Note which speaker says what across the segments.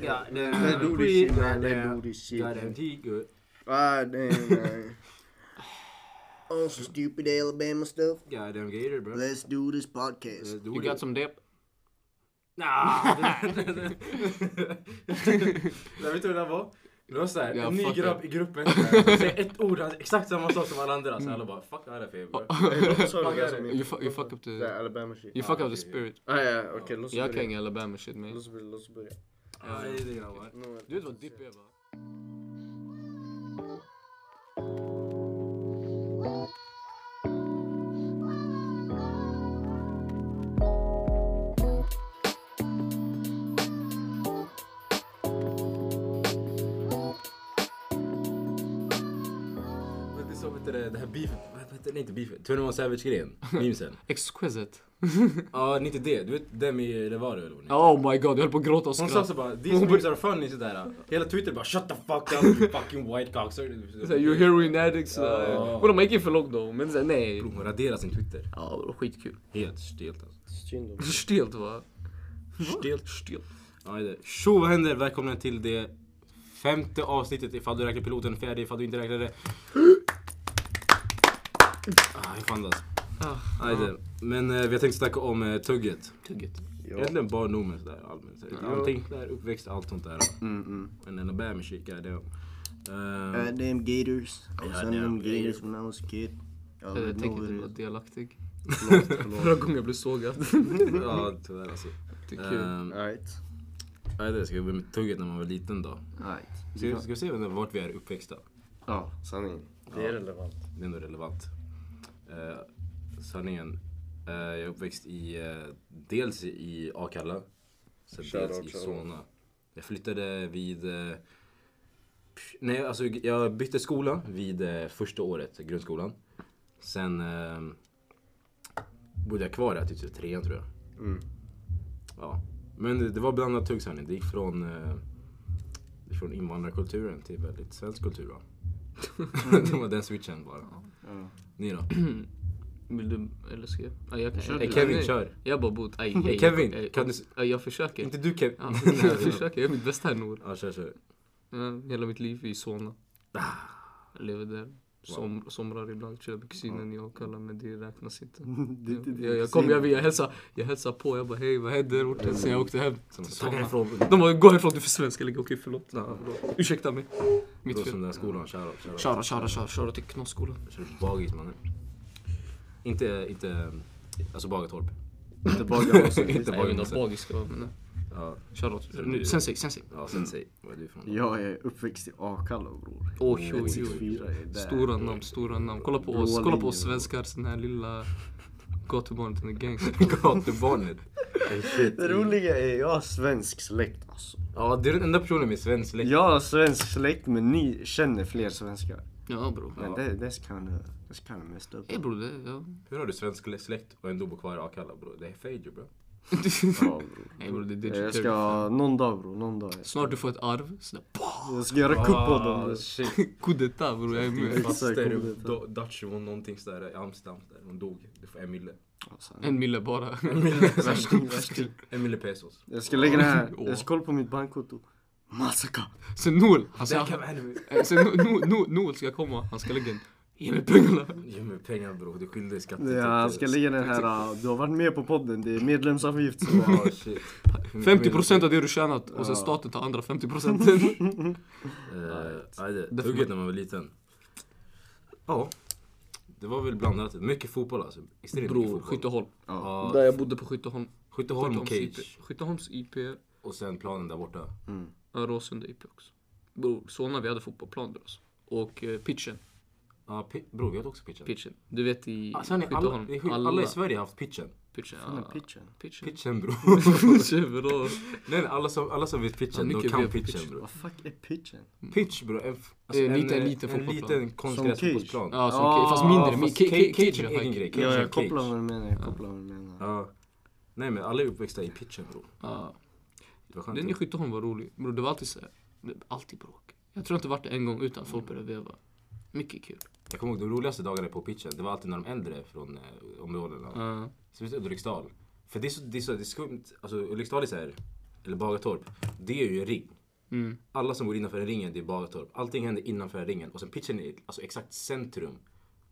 Speaker 1: God damn.
Speaker 2: They do this shit, man. They do this shit.
Speaker 1: Goddamn
Speaker 2: man.
Speaker 1: T good.
Speaker 2: God damn, man. On some stupid Alabama stuff.
Speaker 1: Goddamn Gator, bro.
Speaker 2: Let's do
Speaker 1: Let's
Speaker 2: this podcast.
Speaker 1: do
Speaker 3: You
Speaker 1: it.
Speaker 3: got some dip?
Speaker 1: Nah. Vet du vad det var? Det var såhär,
Speaker 3: Ja,
Speaker 1: en ny
Speaker 3: fuck
Speaker 1: grabb
Speaker 3: it.
Speaker 1: i gruppen såhär, säger ett ord, han säger exakt samma sak som alla andra. Så
Speaker 3: Mm.
Speaker 1: alla bara, fuck det här är fel bro.
Speaker 2: Sorry, guys, I mean,
Speaker 3: Oh. You, fu- you fuck up
Speaker 2: Det är
Speaker 3: the...
Speaker 2: Alabama shit.
Speaker 3: You fuck up the spirit.
Speaker 2: Ah, ja, okej. Låt oss
Speaker 3: Jag kan
Speaker 2: börja.
Speaker 3: inga Alabama shit man.
Speaker 2: Låt oss börja, låt oss börja.
Speaker 1: Ja, det är det grabbar.
Speaker 2: Nu är
Speaker 3: Du vet vad dipp är va?
Speaker 1: Men Det är som heter det, det här beefet, vad heter det? Nej inte beefet, 21 Savage-grejen, memesen.
Speaker 3: Exquisite.
Speaker 1: Ja, inte det. Du vet den med Revaro eller vad
Speaker 3: Oh my god, jag höll på att gråta och
Speaker 1: Hon sa
Speaker 3: skratta.
Speaker 1: så bara, these memes are funny sådär. Hela Twitter bara, shut the fuck up you fucking white cock.
Speaker 3: Såhär, You heroin addicts.
Speaker 1: Ja.
Speaker 3: eh, Vadå man gick in för lockdown men såhär nej.
Speaker 1: Bro, hon raderar sin Twitter.
Speaker 3: Ja bro, skitkul.
Speaker 1: Helt stelt alltså.
Speaker 2: synd om-
Speaker 3: Stelt va?
Speaker 1: Stelt, stelt. Ja, det är det. Tjo, vad händer? Välkomna till det femte avsnittet ifall du räknar piloten fjärde ifall du inte räknar det. Ah, jag får andas.
Speaker 3: Ah,
Speaker 1: Ja, det är det. Men eh, vi har tänkt snacka om eh, tugget.
Speaker 3: Tugget.
Speaker 2: Ja.
Speaker 1: Egentligen bara nummer sådär allmänt. Så, Allting där, uppväxt, allt sånt där.
Speaker 2: Mm, mm.
Speaker 1: Men en Alabama shit, goddamn.
Speaker 3: Äh,
Speaker 1: Uh,
Speaker 2: God damn gators. I was under
Speaker 1: Goddamn
Speaker 2: them gators
Speaker 1: gators.
Speaker 2: when I was a kid. Oh, I
Speaker 3: Jag
Speaker 2: already
Speaker 3: tänkte
Speaker 2: know
Speaker 3: inte
Speaker 2: what
Speaker 3: vara
Speaker 2: it is.
Speaker 3: delaktig.
Speaker 2: Förlåt,
Speaker 3: Förra
Speaker 2: förlåt.
Speaker 3: gången jag blev sågad.
Speaker 1: ja, tyvärr alltså.
Speaker 3: Det är kul.
Speaker 1: Ehm,
Speaker 2: Alright.
Speaker 1: Ja, det ska vi börja med tugget när man var liten då.
Speaker 2: Alright.
Speaker 1: Ska, ska vi se vart vi är uppväxta?
Speaker 2: Ja, sanningen. Det är relevant.
Speaker 1: Det är ändå relevant. Eh, sanningen. Eh, jag är uppväxt i, eh, dels i Akalla, sen
Speaker 2: Shoutout,
Speaker 1: dels i
Speaker 2: shoutout.
Speaker 1: Solna. Jag flyttade vid... Eh, nej, alltså jag bytte skola vid eh, första året, grundskolan. Sen eh, bodde jag kvar där till typ trean tror jag.
Speaker 2: Mm.
Speaker 1: Ja. Men det, det var blandat tugg sanning. Det gick från, eh, från invandrarkulturen till väldigt svensk kultur va? det var den switchen bara.
Speaker 2: Ja.
Speaker 1: Ni då?
Speaker 3: Vill du, eller ska jag? Ja, jag kan,
Speaker 2: Kör
Speaker 3: jag,
Speaker 1: du. Kevin,
Speaker 3: nej.
Speaker 1: kör.
Speaker 3: Jag bara bot. Aj, aj,
Speaker 1: Kevin,
Speaker 3: jag,
Speaker 1: kan du s-
Speaker 3: jag, jag försöker.
Speaker 1: Inte du Kevin?
Speaker 3: ja, jag försöker, jag gör mitt bästa här Nour.
Speaker 1: Ja, kör kör.
Speaker 3: Ja, Eh, hela mitt liv i Solna. Jag lever där. Som, Somrar ibland, chillar med kusinen, jag och kallar men det räknas inte. Jag, jag kom, jag, jag, hälsade, jag hälsade på, jag bara hej vad händer orten sen jag åkte hem.
Speaker 1: Som
Speaker 3: till
Speaker 1: tagg
Speaker 3: Solna.
Speaker 1: härifrån.
Speaker 3: De bara gå härifrån du är för svensk. Jag lägger okej förlåt.
Speaker 1: Ja.
Speaker 3: Förlåt. Ursäkta mig.
Speaker 1: Då
Speaker 3: Mitt
Speaker 1: som
Speaker 3: fel.
Speaker 1: den här skolan, shoutout. Shoutout.
Speaker 3: Köra, köra, köra, köra till Knosskolan.
Speaker 1: Kör bagis mannen. Inte, inte, alltså Bagartorp.
Speaker 2: Inte baga oss.
Speaker 1: Inte
Speaker 3: Nej, Jag
Speaker 1: bagis.
Speaker 3: vet inte vad
Speaker 1: mannen.
Speaker 3: bagis ska vara men alltså- nej.
Speaker 1: Ja,
Speaker 3: Shoutout. Sensei, sensei.
Speaker 1: ja sensei. Var är du från?
Speaker 2: Jag är uppväxt i Akalla bror.
Speaker 3: Oj, oj,
Speaker 2: Ett,
Speaker 3: oj.
Speaker 2: fyra är där.
Speaker 3: Stora namn, stora namn. Kolla på
Speaker 2: Blå
Speaker 3: oss, kolla på oss
Speaker 2: linjer.
Speaker 3: svenskar, den här lilla gatubarnet, den är gangster.
Speaker 1: Gatubarnet. Hey, shit.
Speaker 2: Det roliga är, jag har svensk släkt alltså.
Speaker 1: Ja, du är den enda personen med svensk släkt.
Speaker 2: Jag har svensk släkt men ni känner fler svenskar.
Speaker 3: Ja bror.
Speaker 2: Men
Speaker 1: Ja.
Speaker 2: det, that's kinda, that's kinda messed up.
Speaker 3: Ey bror, det, ja.
Speaker 1: Hur har du svensk släkt och ändå bor kvar i Akalla bro? Det är failure bro.
Speaker 2: Ja, bror.
Speaker 3: Ey bror, det, det är
Speaker 2: Jag
Speaker 3: digital.
Speaker 2: ska, någon dag bror, någon dag.
Speaker 3: Snart du får ett arv, sådär pah!
Speaker 2: Jag ska göra kupp på dem. bror.
Speaker 1: Ah, Shit.
Speaker 3: Coup d'état bror, jag är med.
Speaker 2: Exakt,
Speaker 1: Faster,
Speaker 2: kommer det ta.
Speaker 1: do- Dutch, hon någonting sådär i Amsterdam. Där. Hon dog. Du får en mille.
Speaker 2: Ja, sanning.
Speaker 3: En mille bara.
Speaker 2: Värsting, värsting.
Speaker 1: En mille pesos.
Speaker 2: typ. Jag ska lägga det här,
Speaker 3: Åh.
Speaker 2: jag ska kolla på mitt bankkonto. Massaka!
Speaker 3: Sen Noel, han
Speaker 1: Där
Speaker 3: ska,
Speaker 1: kan man
Speaker 3: eh, sen No- No- No- Noel ska komma, han ska lägga en Ge mig pengarna!
Speaker 1: Ge mig pengar bro, du skyller i skatt.
Speaker 2: Ja, han ska lägga den här, uh, du har varit med på podden, det är medlemsavgift. som-
Speaker 1: Ja, Ah, shit. Hur mycket
Speaker 3: 50% av det du tjänat och sen
Speaker 2: Ja.
Speaker 3: staten tar andra 50%
Speaker 1: menar du? Eh, ja, det-
Speaker 3: Det får
Speaker 1: Tugget
Speaker 3: man-
Speaker 1: när man var liten. Ja. Det var väl blandat. Mycket fotboll alltså. Extremt mycket
Speaker 3: Bror,
Speaker 1: fotboll.
Speaker 3: Skytteholm.
Speaker 2: Ja.
Speaker 1: Ja,
Speaker 3: Där jag bodde på Skytteholm.
Speaker 1: Skytteholm och
Speaker 3: Skytteholms
Speaker 1: Cage.
Speaker 3: IP. Skytteholms IP.
Speaker 1: Och sen planen där borta.
Speaker 3: Ja, Råsunda IP också. Bror, Solna vi hade fotbollsplan där alltså. Och eh, pitchen.
Speaker 1: Ja, pi- bror vi hade också pitchen.
Speaker 3: Pitchen. Du vet i
Speaker 1: Ah, sen är alla,
Speaker 3: Skytteholm.
Speaker 1: det är sjukt, alla i Sverige har haft pitchen.
Speaker 3: pitchen.
Speaker 2: Den
Speaker 3: Ja,
Speaker 2: här pitchen.
Speaker 3: pitchen.
Speaker 1: Pitchen bror.
Speaker 3: Pitchen bror.
Speaker 1: Nej, nej, alla som, alla som vet pitchen,
Speaker 3: Ja,
Speaker 1: de
Speaker 3: mycket
Speaker 1: kan
Speaker 3: vet på
Speaker 1: pitchen
Speaker 3: pitch. Mm.
Speaker 1: bror.
Speaker 2: Vad fuck är pitchen?
Speaker 1: Pitch bror, en, f- alltså
Speaker 3: Det är en liten- liten
Speaker 1: en
Speaker 3: fotbollsplan.
Speaker 1: liten konstgräs
Speaker 2: cage.
Speaker 1: fotbollsplan.
Speaker 3: Ja, som
Speaker 2: Ah,
Speaker 3: ca- fast
Speaker 1: ja,
Speaker 3: mindre. men
Speaker 1: fast
Speaker 3: ca-
Speaker 1: ca-
Speaker 3: ca-
Speaker 1: cage är
Speaker 3: cage
Speaker 1: en egen grej. Cage
Speaker 2: Ja,
Speaker 1: är
Speaker 2: jag
Speaker 1: en
Speaker 2: kopplar
Speaker 1: cage.
Speaker 2: vad du menar, jag kopplar vad du menar.
Speaker 1: Ja. Nej men alla är uppväxta i pitchen bror.
Speaker 3: Ja.
Speaker 1: Det var skönt.
Speaker 3: Den i Skytteholm var rolig. Bror, det var alltid så här. det- Alltid bråk. Jag tror inte vart det en gång utan folk började veva. Mycket kul.
Speaker 1: Jag kommer ihåg de roligaste dagarna på pitchen, det var alltid när de äldre från eh, områdena.
Speaker 3: Ja.
Speaker 1: Speciellt Ulriksdal. För det är så, det är så det är skumt, alltså Ulriksdal är så här, eller Bagartorp, det är ju en ring.
Speaker 3: Mm.
Speaker 1: Alla som går innanför den ringen, det är Bagartorp. Allting händer innanför den ringen. Och sen pitchen är alltså exakt centrum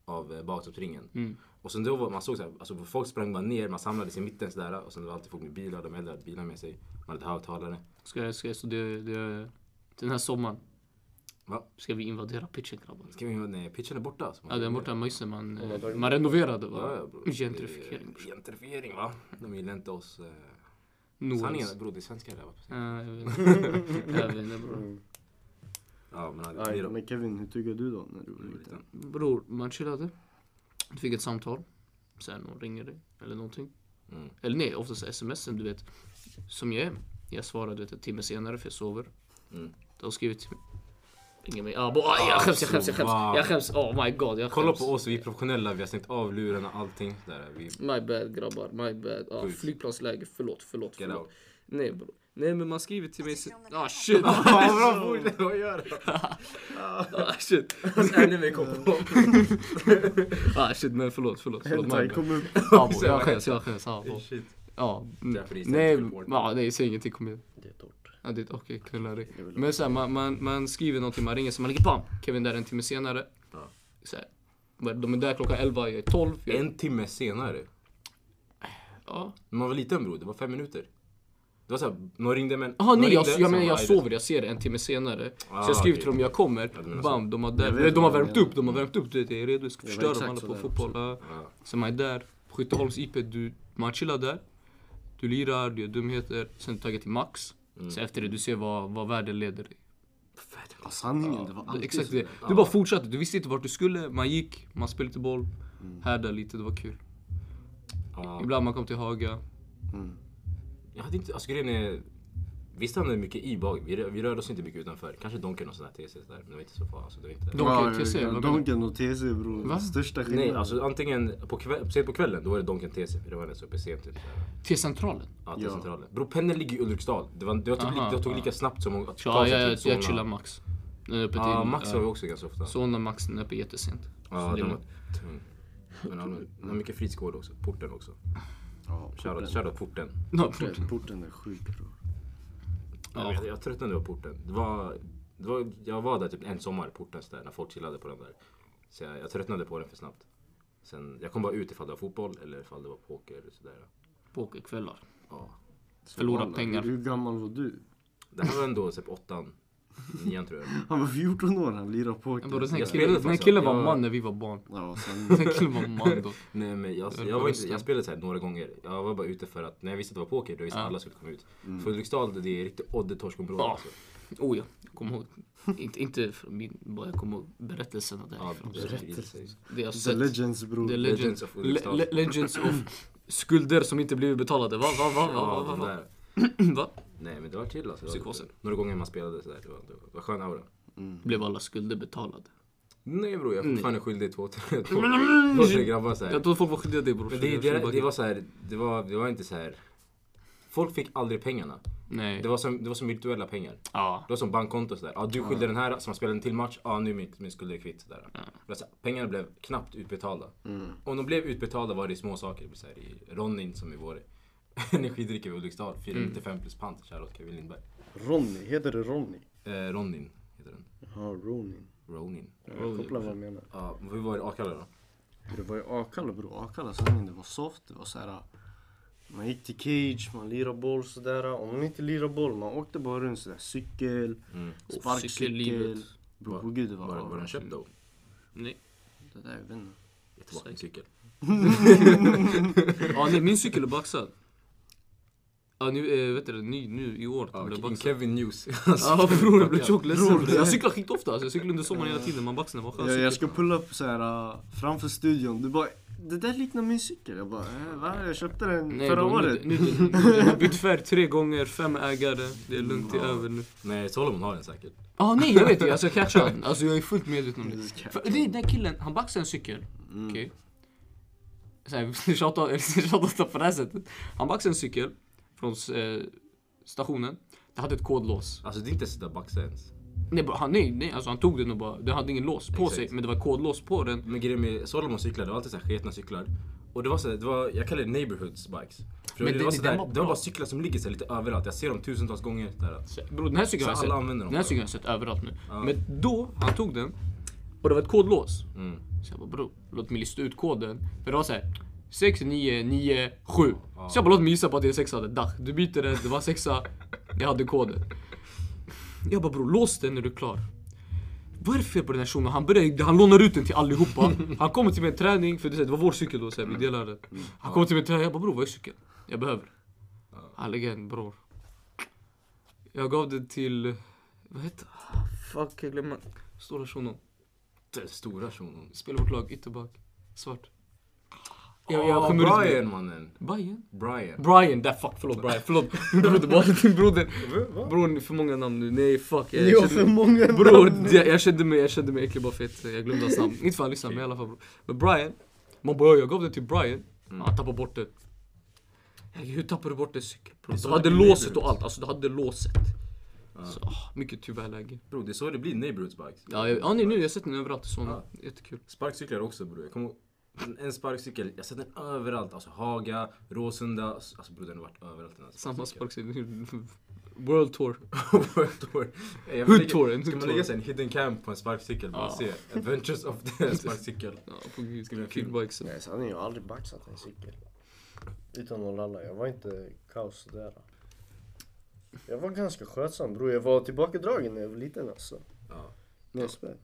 Speaker 1: av eh, Bagartorpsringen. Och sen då var, man såg så här, alltså folk sprang bara ner, man samlades i mitten sådär. Och sen var det alltid folk med bilar, de äldre hade bilar med sig. Man hade högtalare.
Speaker 3: Ska jag, ska jag, så det, det, den här sommaren
Speaker 1: Va?
Speaker 3: ska vi invadera pitchen grabbar.
Speaker 1: Ska vi, nej, pitchen är borta. Alltså.
Speaker 3: Ja, den borta, men just det, man, eh, man renoverade
Speaker 1: Ja,
Speaker 3: va?
Speaker 1: ja, bror.
Speaker 3: Gentrifiering.
Speaker 1: Det är Gentrifiering va? De gillar inte oss. Eh,
Speaker 3: Noahs.
Speaker 1: Sanningen, bror det är svenskar där va?
Speaker 3: Ja, jag vet inte. Jag vet inte, bror.
Speaker 2: Mm.
Speaker 1: Ja men det
Speaker 2: Aj,
Speaker 1: är de.
Speaker 2: men Kevin, hur tycker du då när du var liten?
Speaker 1: Liten.
Speaker 3: Bror, man chillade. Du fick ett samtal. Sen någon ringer dig eller någonting.
Speaker 1: Mm.
Speaker 3: Eller nej, oftast smsen du vet. Som jag är. Jag svarar du vet, en timme senare för jag sover.
Speaker 1: Mm.
Speaker 3: De har skrivit till mig. Ringer mig. Ah, bo, ah, jag skäms, jag skäms, jag skäms.
Speaker 1: Wow.
Speaker 3: Jag skäms. Oh my god, jag skäms.
Speaker 1: Kolla på oss, vi är professionella, vi har stängt av lurarna allting. Där. Vi,
Speaker 3: My bad grabbar, my bad. Ah,
Speaker 1: Sjukt.
Speaker 3: flygplansläge, förlåt, förlåt,
Speaker 1: Get
Speaker 3: förlåt.
Speaker 1: out.
Speaker 3: Nej bror. Nej men man skriver till mig. se- Ah shit.
Speaker 1: Ja bra fortsätt, vad gör du?
Speaker 3: Ah shit.
Speaker 1: Ännu mer kom på.
Speaker 3: Ah shit, men förlåt, förlåt. förlåt my
Speaker 2: Hentai,
Speaker 3: bad.
Speaker 2: kom upp.
Speaker 3: Ah, bror, jag skäms, jag skäms. Ah, bror.
Speaker 1: Shit.
Speaker 3: Ja. mm.
Speaker 1: Därför det är
Speaker 3: Nej,
Speaker 1: säkert support.
Speaker 3: ja, nej, säg ingenting. Kom igen.
Speaker 2: Det är torrt.
Speaker 3: Ja, det, okej, knulla dig. Men såhär, man, man, man skriver någonting, man ringer, så man ligger bam! Kevin där en timme senare.
Speaker 1: Ja.
Speaker 3: Så här, vad- de är där klockan 11, jag är 12. Jag,
Speaker 1: En timme senare.
Speaker 3: Ja.
Speaker 1: När man var liten bror, det var fem minuter. Det var såhär, någon ringde men...
Speaker 3: Aha,
Speaker 1: någon
Speaker 3: nej, jag,
Speaker 1: ringde,
Speaker 3: jag
Speaker 1: så
Speaker 3: menar
Speaker 1: bara,
Speaker 3: jag
Speaker 1: "Aj,
Speaker 3: sover, jag ser det en timme senare.
Speaker 1: Ah,
Speaker 3: så jag skriver
Speaker 1: okej.
Speaker 3: till dem, jag
Speaker 1: du menar
Speaker 3: kommer.
Speaker 1: så.
Speaker 3: Bam, de har,
Speaker 2: Jag
Speaker 3: där,
Speaker 2: vet
Speaker 3: nej, de har
Speaker 2: vad du
Speaker 3: värmt
Speaker 2: menar.
Speaker 3: upp, de har värmt upp. Du vet, jag är redo, jag ska
Speaker 2: var
Speaker 3: förstöra dem
Speaker 2: exakt
Speaker 3: alla på
Speaker 2: sådär.
Speaker 3: fotboll. Ja.
Speaker 1: Ja.
Speaker 3: Så man är där, Skytteholms IP, du, man chillar där. Du lirar, du gör dumheter, sen taggar till max.
Speaker 1: Mm.
Speaker 3: Sen efter det, du ser vad, vad världen leder dig.
Speaker 2: Ja, sanningen, det var
Speaker 3: Det-
Speaker 2: alltid
Speaker 3: Exakt
Speaker 2: sådär.
Speaker 3: det. Du bara fortsatte, du visste inte vart du skulle, man gick, man spelade lite boll, härdade lite, det var kul.
Speaker 1: Mm. Ja.
Speaker 3: Ibland man kom till Haga.
Speaker 1: Jag hade inte, alltså grejen är... Visst hamnade vi mycket i bag, vi, rö- vi rörde oss inte mycket utanför. Kanske Donken och sådär, TC där. Men det var inte så farligt. Alltså, det var inte...
Speaker 3: Donken
Speaker 2: Ja,
Speaker 3: och TC,
Speaker 2: ja,
Speaker 3: vad menar
Speaker 2: Donken och TC bror.
Speaker 3: Va?
Speaker 2: Största skillnaden.
Speaker 1: Nej, alltså antingen på kväll, sent på kvällen, då är det Donken TC. För det var den så uppe sent. Typ, där.
Speaker 3: T-centralen?
Speaker 1: Ja,
Speaker 2: Ja.
Speaker 1: till centralen. Bror, pendeln ligger i Ulriksdal. Det, var, det, var typ
Speaker 3: Aha,
Speaker 1: lika, det tog
Speaker 3: ja.
Speaker 1: lika snabbt som att
Speaker 3: Ja,
Speaker 1: sig
Speaker 3: jag, jag,
Speaker 1: till Solna.
Speaker 3: jag chillar Max. Den är öppet
Speaker 1: Ja,
Speaker 3: till-
Speaker 1: Max
Speaker 3: ja.
Speaker 1: var vi också ganska ofta.
Speaker 3: Solna Max, den är öppet jättesent.
Speaker 1: Ja,
Speaker 3: Så det-
Speaker 1: den var tung. Men allmänt, det var mycket fritidsgård också. Porten också.
Speaker 2: Ja,
Speaker 1: Shoutout,
Speaker 2: porten.
Speaker 1: shoutout porten.
Speaker 3: Ja, förlåt.
Speaker 2: Porten- Porten är sjuk bror.
Speaker 1: Jag, vet, jag tröttnade på porten. Det var, det var, jag var där typ en sommar, portens där, när folk chillade på den där. Så jag, jag tröttnade på den för snabbt. Sen, jag kom bara ut ifall det var fotboll eller ifall det var poker. Och sådär.
Speaker 3: Pokerkvällar.
Speaker 1: Ja.
Speaker 3: Förlora
Speaker 2: Walla,
Speaker 3: pengar.
Speaker 2: Hur gammal var du?
Speaker 1: Det här var ändå typ åttan, nian tror jag.
Speaker 2: Han var 14 år, han lirade
Speaker 3: Ja, bror,
Speaker 2: poker.
Speaker 3: Den här
Speaker 1: Jag
Speaker 3: killen,
Speaker 1: spelade
Speaker 3: den här
Speaker 1: faktiskt,
Speaker 3: killen var
Speaker 1: jag-
Speaker 3: man när vi var barn.
Speaker 2: Ja, sen...
Speaker 3: Den här killen var man då.
Speaker 1: Nej men jag,
Speaker 3: Jag
Speaker 1: jag,
Speaker 3: vill bara
Speaker 1: var inte,
Speaker 3: lyssna.
Speaker 1: jag spelade så här några gånger. Jag var bara ute för att, när jag visste att det var poker, då visste jag att alla skulle komma ut. För Ulriksdal, det är riktigt oddetorsk-område.
Speaker 3: Mm. Ja.
Speaker 1: Alltså.
Speaker 3: Oh ja, jag kommer ihåg. Inte, inte från min, bara jag kommer ihåg berättelserna
Speaker 1: Ja,
Speaker 3: därifrån.
Speaker 1: det är riktigt-
Speaker 3: Det jag
Speaker 2: The
Speaker 3: sett.
Speaker 2: Legends bror.
Speaker 3: The Legends
Speaker 1: Legends of
Speaker 3: of Le
Speaker 1: Ulriksdal.
Speaker 3: le legends of skulder som inte blivit betalade. Va? Va? Va? Va?
Speaker 1: Ja,
Speaker 3: Va?
Speaker 1: de
Speaker 3: Va?
Speaker 1: där.
Speaker 3: Va? va?
Speaker 1: Nej men det var chill alltså. Det var-
Speaker 3: Psykosen.
Speaker 1: Några gånger man spelade sådär, det var, det var- det var skön aura.
Speaker 3: Blev alla skulder betalade?
Speaker 1: Nej bror, jag är fortfarande skyldig två, två, två, tre grabbar såhär.
Speaker 3: Mm. Jag trodde folk var skyldiga dig bror.
Speaker 1: Men det, det, det var så här, det var, det var inte så här. Folk fick aldrig pengarna.
Speaker 3: Nej.
Speaker 1: Det var som, det var som virtuella pengar.
Speaker 3: Ja.
Speaker 1: Det var som bankkonto och sådär. Ja, du skyllde den här, så man spelade en till match. Ja, nu är min, min skuld är kvitt. Sådär. Men så här, pengarna blev knappt utbetalda. Om de blev utbetalda var det i små saker. Så här, i Ronin som är vår energidryck i Ulriksdal. 495 plus pant. Shoutout Kevin Lindberg.
Speaker 2: Ronny, heter det Ronny?
Speaker 1: Eh, Ronin heter den.
Speaker 2: Ja, Ronin.
Speaker 1: Ronin.
Speaker 2: Jag kopplar vad jag menar.
Speaker 1: Ja, vad var det Akalla då?
Speaker 2: Det var ju Akalla bror. Akalla sanningen, det var soft. Det var så här. Man gick till cage, man lirade boll sådär. Om man inte lirade boll, man åkte bara runt sådär. Cykel, sparkcykel.
Speaker 3: cykellivet.
Speaker 2: Bror på gud det var
Speaker 1: Var, var den
Speaker 2: överallt.
Speaker 1: köpt då?
Speaker 3: Nej.
Speaker 2: Det där, jag vet inte.
Speaker 1: Jättevaken cykel.
Speaker 3: Ja, nej, min cykel är baxad. Ja, nu, äh, vet du, det, ny nu i år. Den
Speaker 1: Ja,
Speaker 3: blev
Speaker 1: Ke-
Speaker 3: baxad.
Speaker 1: Kevin News. Alltså,
Speaker 3: Ja bror jag blev
Speaker 1: fuck
Speaker 3: tjockt ledsen. bror. Jag cyklar skitofta alltså. Jag cyklar under sommaren hela tiden. Man baxnar. Vad skön
Speaker 2: Jag, jag
Speaker 3: cykel.
Speaker 2: ska pulla upp så här äh, framför studion. Du bara, det där liknar min cykel. Jag bara, äh, va? Jag köpte den
Speaker 3: Nej,
Speaker 2: förra
Speaker 3: bror,
Speaker 2: året.
Speaker 3: Nu, nu, nu, nu, den har bytt färg tre gånger, fem ägare. Det är lugnt, det är över nu.
Speaker 1: Nej, Solomon har den säkert.
Speaker 3: Ja ah, nej jag vet ju, alltså catcha han. Alltså jag är fullt medveten om det. För det är den killen, han baxade en cykel. Okej. Okay. Vi tjatar eller tjatar ofta på det här sättet. Han baxade en cykel från eh, stationen. Det hade ett kodlås.
Speaker 1: Alltså det är inte sådär baxa ens.
Speaker 3: Nej, bara, han, nej, nej alltså han tog den och bara, den hade ingen lås på
Speaker 1: Exakt.
Speaker 3: sig men det var kodlås på den.
Speaker 1: Men grejen med Solomon cyklar, det var alltid så här sketna cyklar. Och det var så här, det var, jag kallar det neighborhoods bikes. För Tror
Speaker 3: Men
Speaker 1: jag, det,
Speaker 3: den-
Speaker 1: var
Speaker 3: den
Speaker 1: sådär,
Speaker 3: var
Speaker 1: det
Speaker 3: bra.
Speaker 1: var bara cyklar som ligger så här lite överallt. Jag ser dem tusentals gånger. Där.
Speaker 3: Bro, den här
Speaker 1: Så
Speaker 3: cykeln har jag
Speaker 1: alla
Speaker 3: sett.
Speaker 1: använder dem
Speaker 3: Den här
Speaker 1: bara.
Speaker 3: cykeln har jag sett överallt nu.
Speaker 1: Ja.
Speaker 3: Men då, han tog den. Och det var ett kodlås.
Speaker 1: Mm.
Speaker 3: Så jag bara bro, låt mig lista ut koden. För det var såhär 6, 9, 9, 7. Så jag bara låt mig gissa på att det är sexa. Dach, du byter det, det var sexa. Jag hade koden. Jag bara bror, lås den när du är klar. Vad är det fel på den här shunon? Han, börjar- han lånar ut den till allihopa. Han kommer till min träning, för det det var vår cykel då, så här, vi delade den. Han kommer till min träning, jag bara bror vad är cykeln? Jag behöver. Han lägger en bror. Jag gav den till, vad heter ah, Fuck jag glömmer. Stora shunon.
Speaker 1: Det är eh, Stora shunon.
Speaker 3: Spelar vårt lag, ytterback. Svart. Jag, jag
Speaker 1: Ja,
Speaker 3: kommer ut med-
Speaker 1: Ah, Brian mannen.
Speaker 3: Brian?
Speaker 1: Brian.
Speaker 3: Brian, där fuck förlåt Brian, förlåt. Min broder, bara din broder. Bror, ni har för många namn nu. Nej fuck. Jag,
Speaker 2: Ni har för många namn.
Speaker 3: bror, jag, jag kände mig, jag kände mig äcklig bara för att jag glömde hans namn. Inte för att han lyssnade, men i alla fall bror. Men Brian, man bara jag gav det till Brian. Han tappade bort det. Jag, hur tappade du bort det cykel? bror?
Speaker 1: så
Speaker 3: Du hade
Speaker 1: det blir
Speaker 3: låset
Speaker 1: bror.
Speaker 3: och allt, alltså du hade låset. Så, ah, mycket tyvärr läge.
Speaker 1: Bro, det är så det blir neighborhoods bikes.
Speaker 3: Ja, jag, ja nej, nu, jag har sett den överallt i Solna. Jättekul.
Speaker 1: Sparkcyklar också bror. Jag kommer ihåg en- en sparkcykel, jag har sett den överallt. Alltså Haga, Råsunda. Alltså bror den har varit överallt den här
Speaker 3: Samma sparkcykel. World Tour.
Speaker 1: Hood
Speaker 3: Hood-touren,
Speaker 1: Ska man lägga
Speaker 3: hood-touren.
Speaker 1: sig en hidden camp på en sparkcykel? Bara
Speaker 3: Ja.
Speaker 1: se. Adventures of the sparkcykel.
Speaker 3: Ja, på gud.
Speaker 1: Ska vi göra en film?
Speaker 3: Kickbikesen.
Speaker 2: Nej sanningen, jag har aldrig baxat en cykel. Utan att lalla, jag var inte kaos där. Jag var ganska skötsam bror, jag var tillbakadragen när jag var liten alltså.
Speaker 1: Ja.
Speaker 2: Nej, spär.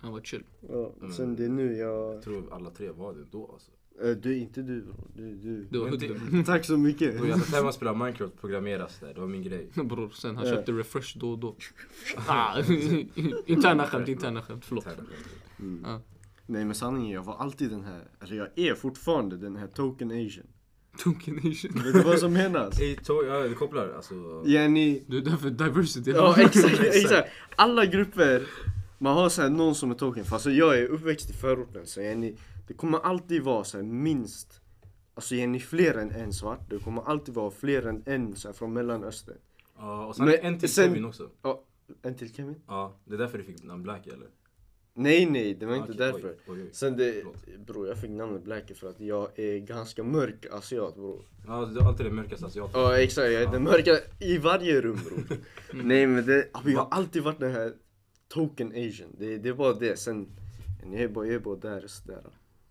Speaker 3: Han var chill.
Speaker 2: Ja, sen det är nu jag...
Speaker 1: Jag tror alla tre var det då alltså.
Speaker 2: Eh, du, inte du bror. Du, du.
Speaker 3: Det var
Speaker 1: Men det-
Speaker 3: hudden.
Speaker 2: Tack så mycket.
Speaker 1: Bror jag satt hemma och spelade Minecraft och programmeras där. Det var min grej.
Speaker 3: Bror, sen han
Speaker 2: Ja.
Speaker 3: köpte refresh då och då. Ah, interna skämt, interna skämt. Förlåt.
Speaker 2: Nej men sanningen, jag var alltid den här, eller jag är fortfarande den här token asian.
Speaker 3: Tunken nation.
Speaker 2: Vet du vad som menas?
Speaker 1: Ey, to- ja, du kopplar alltså.
Speaker 2: Jenny.
Speaker 3: Du är där för diversity.
Speaker 2: Ja exakt, exakt. Alla grupper, man har så här någon som är token. För alltså jag är uppväxt i förorten så Jenny, det kommer alltid vara så här minst, alltså Jenny fler än en svart. Det kommer alltid vara fler än en så här, från mellanöstern.
Speaker 1: Ja, och sen
Speaker 2: Men
Speaker 1: en till
Speaker 2: sen-
Speaker 1: Kevin också.
Speaker 2: Ja, en till Kevin?
Speaker 1: Ja, det är därför du fick namn Black eller?
Speaker 2: Nej nej, det var inte
Speaker 1: Okej,
Speaker 2: därför.
Speaker 1: oj, oj, oj.
Speaker 2: Sen det,
Speaker 1: Förlåt.
Speaker 2: bror jag fick namnet Blackie för att jag är ganska mörk asiat bror.
Speaker 1: Ja, det är alltid det mörkaste alltså, asiaten.
Speaker 2: Ja exakt, jag är den mörka i varje rum bror. Nej men det, jag har alltid varit den här token asian. Det, det är bara det. Sen, jag är bara, jag är bara där och sådär.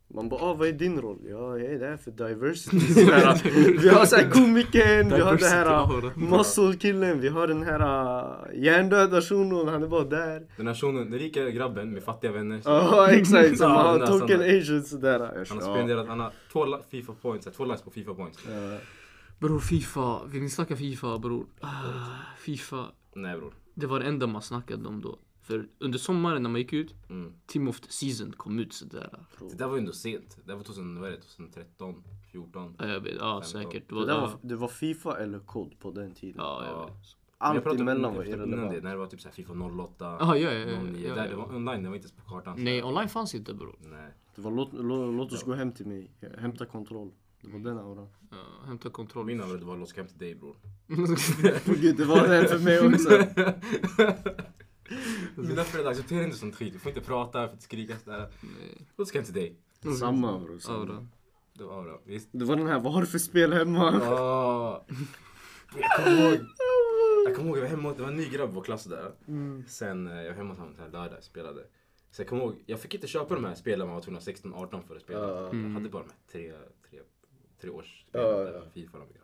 Speaker 2: Man bara, ah, vad är din roll? Ja, jag är där för diversity. Sådär. Vi har såhär komikern, vi har den här äh,
Speaker 3: Diversity, ja.
Speaker 2: muscle-killen, vi har den här äh, hjärndöda shunon, han är bara där.
Speaker 1: Den här shunon, den rika grabben med fattiga vänner.
Speaker 2: Ja exakt, så
Speaker 1: Ja, den
Speaker 2: man har
Speaker 1: där
Speaker 2: token
Speaker 1: sådana.
Speaker 2: asian sådär. Jag
Speaker 1: Han
Speaker 2: kör,
Speaker 1: har spenderat, han har två la- FIFA points, eh, två likes på FIFA points.
Speaker 2: ja.
Speaker 3: Bror, Fifa. Vill ni snacka Fifa, bror? Ah, Fifa.
Speaker 1: Nej bror.
Speaker 3: Det var det enda man snackade om då. För under sommaren när man gick ut,
Speaker 1: Mm.
Speaker 3: Team of the Season kom ut sådär.
Speaker 1: Det där var ju ändå sent. Det där var 2000, vad är det, 2013, 14.
Speaker 3: Ja, jag vet. Ja,
Speaker 1: Femton.
Speaker 3: säkert.
Speaker 2: Det,
Speaker 3: Det var,
Speaker 2: där var,
Speaker 3: ja,
Speaker 2: det var Fifa eller COD på den tiden.
Speaker 3: jag
Speaker 1: Ja.
Speaker 3: vet.
Speaker 1: Men jag
Speaker 2: Allt
Speaker 1: pratade om-
Speaker 2: emellan var
Speaker 1: jag pratade innan det,
Speaker 2: irrelevant.
Speaker 1: när det var typ så här FIFA 08,
Speaker 3: Jaha, ja, ja, ja,
Speaker 1: 09.
Speaker 3: ja,
Speaker 1: där,
Speaker 3: ja.
Speaker 1: Det var online, det var inte ens på kartan.
Speaker 3: Nej, online fanns inte bror.
Speaker 1: Nej.
Speaker 2: Det var låt, låt, låt oss gå hem till mig, hämta kontroll. Det var den auran.
Speaker 3: Ja, hämta kontroll. Alltså,
Speaker 1: Min avrund var låt oss gå hem till dig bror.
Speaker 2: Gud, det var den för mig också.
Speaker 1: Mina föräldrar accepterar inte sånt skit. Du får inte prata, du får inte skrika sådär. Låt oss gå hem till dig.
Speaker 2: Samma bror. samma.
Speaker 3: Aura.
Speaker 1: Det var bra. Visst.
Speaker 2: Det var den här, vad har du för spel hemma?
Speaker 1: Åh. Jag kommer ihåg. Jag kommer ihåg, jag var hemma, det var en ny grabb i vår klass där.
Speaker 2: Mm.
Speaker 1: Sen, eh, jag var hemma hos honom den här lördag och spelade. Så jag kommer ihåg, jag fick inte köpa de här spelen man var tvungen att vara 16-18 för att spela.
Speaker 2: Ja.
Speaker 1: Jag
Speaker 3: Mm.
Speaker 1: hade bara de här tre, tre, tre års spelen,
Speaker 2: Ja,
Speaker 1: där,
Speaker 2: ja.
Speaker 1: Fifa och de grabbarna.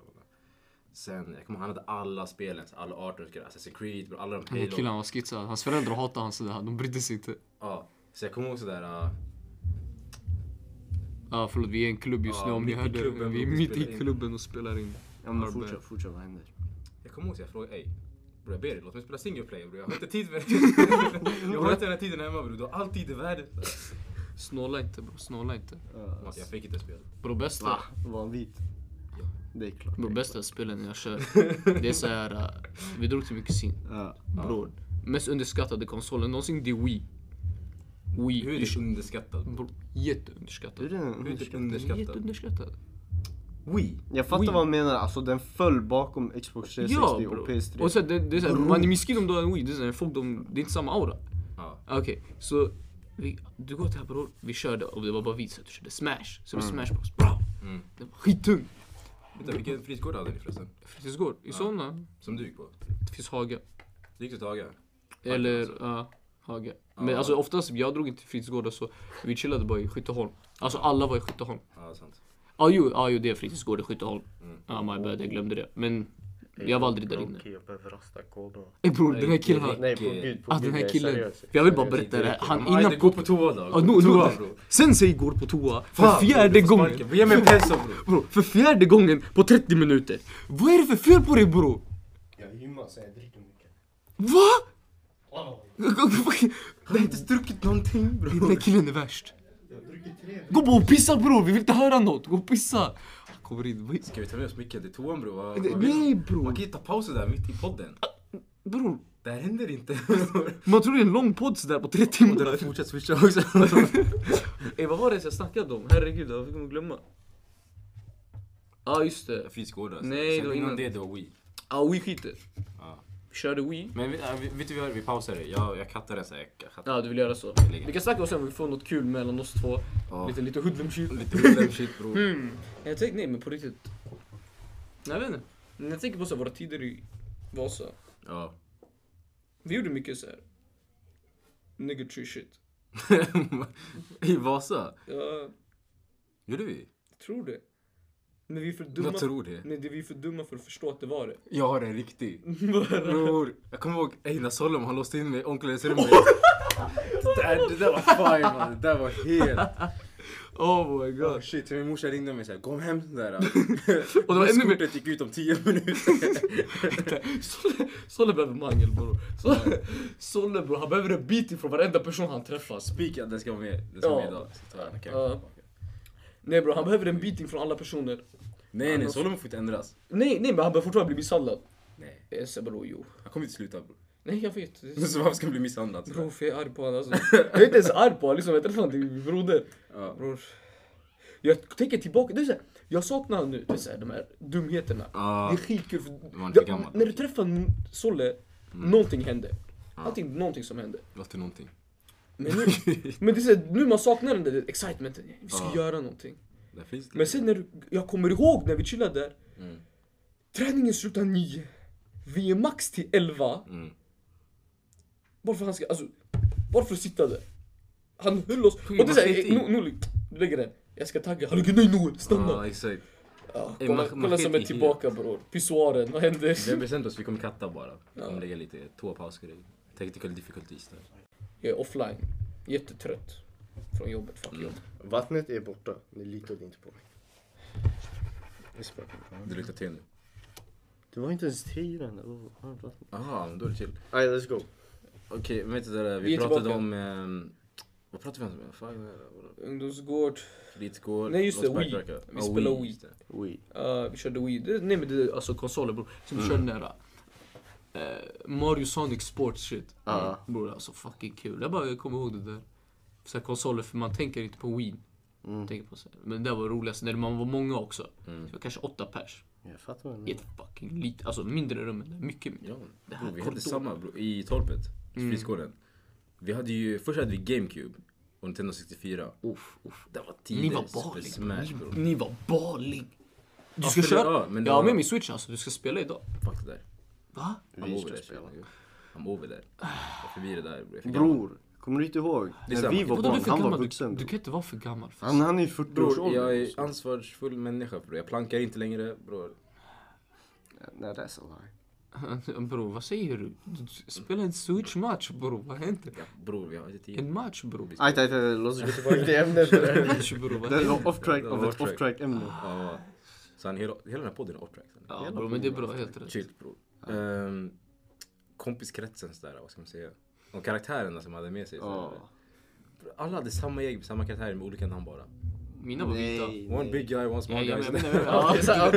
Speaker 1: Sen, jag kommer ihåg, han hade alla spelen, så alla 18 grejer, Assassin's Creed, bro, alla de
Speaker 3: Den här
Speaker 1: Halo.
Speaker 3: killen han var skitsad. Hans föräldrar hatade han sådär. De brydde sig inte.
Speaker 1: Ja, så jag kommer ihåg sådär, uh,
Speaker 3: Ja, förlåt. Vi är i en klubb just
Speaker 1: Ja,
Speaker 3: nu om
Speaker 1: mitt
Speaker 3: ni
Speaker 1: i
Speaker 3: hörde.
Speaker 1: klubben
Speaker 3: Vi är
Speaker 1: och vi
Speaker 3: mitt
Speaker 1: spelar
Speaker 3: i
Speaker 1: in.
Speaker 3: klubben och spelar in.
Speaker 2: Ja men fortsätt, fortsätt, vad händer?
Speaker 1: jag kommer ihåg så jag frågade, ey bror jag ber dig låt mig spela single player bror, jag har inte tid för det. jag har inte den här tiden hemma bror, du har all tid i världen.
Speaker 3: Snåla inte bro. Snåla inte.
Speaker 1: Alltså, Jag fick inte spela.
Speaker 3: Bro bästa.
Speaker 2: Va? Var han vit? Det är klart.
Speaker 3: Bro bästa spelen jag kör. Det är såhär. äh, Vi drog till min kusin.
Speaker 2: Ja.
Speaker 3: Bror. Mest underskattade konsolen någonsin. Det är Wii. Wii.
Speaker 1: Hur är det underskattat?
Speaker 3: Bro, jätteunderskattad.
Speaker 2: Hur är den
Speaker 1: Hur är det
Speaker 2: underskattad?
Speaker 1: underskattat?
Speaker 3: Jätteunderskattad.
Speaker 1: Wii.
Speaker 2: Jag fattar vad han menar, alltså den föll bakom Xbox 360
Speaker 3: Ja
Speaker 2: och
Speaker 3: bror.
Speaker 2: PS3.
Speaker 3: Och sen det, det är såhär. Man är miskin om du har en Wii. Det är, såhär, folk, de, det är inte samma aura. Ah,
Speaker 1: Ja.
Speaker 3: Okej, så vi, du går till här bror, vi körde och det var bara vi så att du körde smash. Så det var smash bros, bra!
Speaker 1: Mm.
Speaker 3: Det var skittung!
Speaker 1: Vänta, vilken fritidsgård hade ni förresten?
Speaker 3: Fritidsgård i Solna.
Speaker 1: Som du gick på?
Speaker 3: Det finns Haga.
Speaker 1: Du gick till Taga?
Speaker 2: alltså.
Speaker 3: Eller ja, Haga. Men
Speaker 1: Ja.
Speaker 3: alltså oftast, jag drog inte till fritidsgårdar så vi chillade bara i Skytteholm. Alltså alla var i Skytteholm.
Speaker 1: Ja, sant.
Speaker 3: Ja ah, jo, ah, jo, det är fritidsgård i Skytteholm. Ja my bad, jag glömde det. Men jag var aldrig där inne.
Speaker 2: Mm. Okej, jag behöver rasta koden.
Speaker 3: Ey bror, den här killen här.
Speaker 2: Nej på gud, på
Speaker 3: Ah,
Speaker 2: gud.
Speaker 3: den här
Speaker 2: jag är
Speaker 3: killen.
Speaker 2: seriös.
Speaker 3: Jag vill bara berätta det här. Han
Speaker 1: Han innan...
Speaker 3: innan...
Speaker 1: Gå på toa då.
Speaker 3: Ah, no, no,
Speaker 1: Toa, bro.
Speaker 3: Sensei går på toa för
Speaker 1: Fan,
Speaker 3: fjärde
Speaker 1: du får
Speaker 3: gången.
Speaker 1: sparken. Ge mig en peso bro.
Speaker 3: Bro, för fjärde gången på 30 minuter. Vad är det för fel på dig bro?
Speaker 2: Jag gymmar så jag dricker mycket.
Speaker 3: Va?
Speaker 2: Wow.
Speaker 1: Han har inte druckit någonting bro.
Speaker 3: Den här killen är värst.
Speaker 2: Jag dricker tre
Speaker 3: Gå bara och pissa bror, vi vill inte höra något. Gå och pissa. Han kommer in. vad-
Speaker 1: Ska vi ta med oss micken till toan bro? Vad- vad vill
Speaker 3: Nej
Speaker 1: du?
Speaker 3: bror.
Speaker 1: Man kan ju ta pauser där mitt i podden.
Speaker 3: Bror,
Speaker 1: Det här händer inte.
Speaker 3: man tror det är en lång podd sådär på 30
Speaker 1: Och den har
Speaker 3: minuter.
Speaker 1: fortsatt swisha också.
Speaker 3: Ey Eh, vad var det ens jag snackade om? Herregud, jag fick glömma. Ja ah, just det.
Speaker 1: Fritidsgårdar.
Speaker 3: Nej,
Speaker 1: Sen
Speaker 3: det var innan.
Speaker 1: det, det var we.
Speaker 3: Ah, Wii skiter.
Speaker 1: Ja.
Speaker 3: Vi körde Wii.
Speaker 1: Men vi, äh, vi- vet du vad vi gör? Vi pausar det. Jag, jag kattar den såhär. Jag kattar.
Speaker 3: Ja, du vill göra så. Vi kan snacka om sen om vi får något kul mellan oss två.
Speaker 1: Ja.
Speaker 3: Lite, lite hoodlum-shit.
Speaker 1: Lite rullen shit bro.
Speaker 3: Mm. Jag tänkte, nej men på riktigt. Nej, Jag vet inte. När jag tänker på så här, våra tider i Vasa.
Speaker 1: Ja.
Speaker 3: Vi gjorde mycket så här. Nigger tree shit.
Speaker 1: I Vasa?
Speaker 3: Jag
Speaker 1: Gjorde vi?
Speaker 3: tror det. Men vi är för dumma.
Speaker 1: Jag tror det.
Speaker 3: Men det vi är för dumma för att förstå att det var det.
Speaker 1: Jag har en riktig. Bror, jag kommer ihåg Einar Sollum, han låste in mig i omklädningsrummet. det, där, det där var fine man, det där var helt...
Speaker 3: Oh my
Speaker 1: Oh, shit, min morsa ringde mig såhär, kom hem den där.
Speaker 3: Och det var ännu mer.
Speaker 1: Kortet gick ut om 10 minuter.
Speaker 3: Solle- Solle behöver mangel bror. Solle- Solle bror, han behöver en bit ifrån varenda person han träffar.
Speaker 1: Spikad, den ska vara med, den ska vara med
Speaker 3: Ja.
Speaker 1: idag. Så tar jag den, okej.
Speaker 3: Ja. Nej bror, han behöver en bit från alla personer.
Speaker 1: Nej nej, Sollum får inte ändras.
Speaker 3: Nej, nej men han behöver fortfarande bli misshandlad.
Speaker 1: Nej,
Speaker 3: Jag säger bror, jo.
Speaker 1: han kommer inte sluta bror.
Speaker 3: Nej jag vet. Det är
Speaker 1: Så varför ska han bli misshandlad? sådär?
Speaker 3: Bror, för jag är arg på honom alltså. Jag är inte ens arg på honom liksom, jag träffade honom till min broder.
Speaker 1: Ja.
Speaker 3: Bror. Jag tänker tillbaka, det är så här, jag saknar honom nu, det är så här, de här dumheterna.
Speaker 1: Ja.
Speaker 3: Det är skitkul. För, Mm.
Speaker 1: var inte
Speaker 3: Ja,
Speaker 1: gammal.
Speaker 3: när du träffar n- Solle, någonting hände. Allting, någonting som hände.
Speaker 1: Vad till någonting.
Speaker 3: Men nu, men det är så här, nu man saknar den där excitementen, vi ska
Speaker 1: Ja.
Speaker 3: göra någonting.
Speaker 1: Där finns det.
Speaker 3: Men sen när du, jag kommer ihåg när vi chillade där.
Speaker 1: Mm.
Speaker 3: Träningen slutar nio. Vi är max till elva.
Speaker 1: Mm.
Speaker 3: Varför han ska, alltså, varför sitta där? Han höll oss, och
Speaker 1: man
Speaker 3: det är
Speaker 1: sitter
Speaker 3: såhär,
Speaker 1: i.
Speaker 3: no, Noel, du lägger den. Jag ska tagga, han lägger nej Noel,
Speaker 1: Ja
Speaker 3: stanna!
Speaker 1: exakt.
Speaker 3: Ja,
Speaker 1: Eh,
Speaker 3: kolla
Speaker 1: man- man
Speaker 3: kolla
Speaker 1: skiter
Speaker 3: som
Speaker 1: Ah, i
Speaker 3: är
Speaker 1: helt.
Speaker 3: tillbaka bror, pissoaren, vad händer?
Speaker 1: Vi har bestämt oss, vi kommer katta bara. Vi kommer lägga lite toapauser i. Technical difficulties där.
Speaker 3: Jag är offline, jättetrött. Från jobbet, fuck
Speaker 1: Mm.
Speaker 3: jobb.
Speaker 2: Vattnet är borta, ni litade inte på mig. Jag skojar.
Speaker 1: Det luktar te nu.
Speaker 2: Det var inte ens te i den. där. Vad fan, vatten?
Speaker 1: Aha, men då är det chill.
Speaker 2: Aj, let's go.
Speaker 1: Okej, men vet du det där, vi,
Speaker 3: Vi är
Speaker 1: pratade
Speaker 3: tillbaka.
Speaker 1: om... ehm, vad pratade vi om? Fan,
Speaker 3: Ungdomsgård,
Speaker 1: Fritidsgård,
Speaker 3: Nej, just det, Wii.
Speaker 1: låtsparkverkare.
Speaker 3: Vi spelar Wii.
Speaker 1: just det.
Speaker 2: Oui.
Speaker 3: eh, vi körde Wii, det, nej men det är alltså konsoler bror. Sen vi körde nära. eh, Mario Sonic Sports shit.
Speaker 2: Ja.
Speaker 3: Bror alltså fucking kul, jag bara jag kommer ihåg det där. Så här konsoler, för man tänker inte på Wii. Tänker på så här. Men det där var roligast när man var många också. Det var kanske åtta pers.
Speaker 2: Jag fattar vad du
Speaker 3: i
Speaker 2: menar.
Speaker 3: ett fucking litet, alltså mindre rum än det, mycket mindre.
Speaker 1: Ja,
Speaker 3: Det här
Speaker 1: bro, vi hade
Speaker 3: korridoren.
Speaker 1: samma bro, i torpet, i
Speaker 3: Mm.
Speaker 1: fritidsgården. Vi hade ju, först hade vi GameCube och Nintendo 64.
Speaker 3: Uff, uff.
Speaker 1: Det var tider,
Speaker 3: Ni var liksom. Mm.
Speaker 1: Super Smash
Speaker 3: baling.
Speaker 1: bro.
Speaker 3: ni, ni var baling. Du ska
Speaker 1: för det-
Speaker 3: köra?
Speaker 1: ja, men det
Speaker 3: jag har
Speaker 1: var-
Speaker 3: med min switch alltså, du ska spela idag.
Speaker 1: Fuck det där.
Speaker 3: Va?
Speaker 1: I'm
Speaker 2: Vi
Speaker 1: over
Speaker 2: ska
Speaker 1: där.
Speaker 2: spela.
Speaker 1: I'm over där. Jag är förbi det där bro. Jag är för gammal.
Speaker 2: Bror, kommer du inte ihåg?
Speaker 1: är
Speaker 2: När
Speaker 1: samma.
Speaker 2: vi var
Speaker 3: Vadå du är
Speaker 2: barn,
Speaker 3: för
Speaker 2: han var
Speaker 3: gammal?
Speaker 2: vuxen.
Speaker 3: Du, du
Speaker 2: bror.
Speaker 3: kan inte vara för gammal. För
Speaker 2: Han, han är i
Speaker 1: Bror,
Speaker 2: 40-årsåldern.
Speaker 1: jag är ansvarsfull människa bror. Jag plankar inte längre bror.
Speaker 2: Nej, that's a lie.
Speaker 3: bro, vad säger du? Du- du- Spela en switch-match bro, vad händer?
Speaker 1: Ja, bror, vi har inte tid.
Speaker 3: En match bro.
Speaker 2: Ajt, ajt, ajt, låt oss gå tillbaka till ämnet.
Speaker 3: En match bro, vad
Speaker 2: Det
Speaker 3: händer?
Speaker 2: var off track
Speaker 1: Det
Speaker 2: av
Speaker 1: var
Speaker 2: ett
Speaker 1: off-track.
Speaker 2: off track ämne.
Speaker 1: Ja. Så han, hela, hela den här podden är off-track.
Speaker 3: Ja bro, men det är bra, helt rätt.
Speaker 1: Chill bror. Ehm, kompiskretsen sådär, vad ska man säga? De karaktärerna som hade med sig.
Speaker 2: Ah.
Speaker 1: sådär.
Speaker 2: Ja.
Speaker 1: Alla hade samma gäng, med samma karaktärer med olika namn bara.
Speaker 3: Mina var vita.
Speaker 1: One big guy, one small
Speaker 3: Ja, jag
Speaker 1: guy.
Speaker 3: menar-
Speaker 1: sådär.
Speaker 3: jag menar- ja. Ja,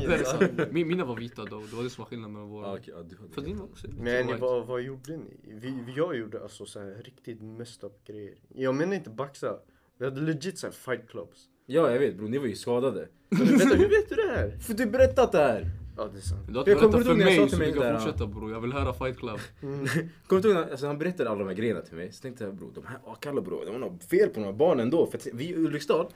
Speaker 3: det är
Speaker 2: Men
Speaker 3: sant. Min- Mina var vita då, det var det som var skillnaden mellan
Speaker 1: Ja,
Speaker 3: våra.
Speaker 1: okej, ja, du hade
Speaker 3: För
Speaker 1: helt
Speaker 3: din var
Speaker 1: annat.
Speaker 3: också lite
Speaker 2: ni,
Speaker 3: white.
Speaker 2: vad, vad gjorde ni? Vi, vi- jag gjorde alltså så här riktigt messed up grejer. Jag menar inte baxa. Vi hade legit så här fight clubs.
Speaker 1: Ja, jag vet bror, ni var ju skadade.
Speaker 2: Men vänta, hur vet du det här?
Speaker 1: För du berättat det här!
Speaker 2: Ja, det är sant.
Speaker 3: Du har
Speaker 1: Jag
Speaker 3: inte
Speaker 1: kommer
Speaker 3: berättat för
Speaker 1: ihåg när jag sa
Speaker 3: mig
Speaker 1: till
Speaker 3: så
Speaker 1: mig
Speaker 3: du
Speaker 1: där,
Speaker 3: kan
Speaker 1: ja.
Speaker 3: fortsätta bror, jag vill höra Fight Club.
Speaker 1: Kommer du ihåg, när- alltså, han berättade alla de här grejerna till mig. Så tänkte jag bror, de här Akalla bror, de har något fel på de här barnen då. För att vi i Ulriksdal,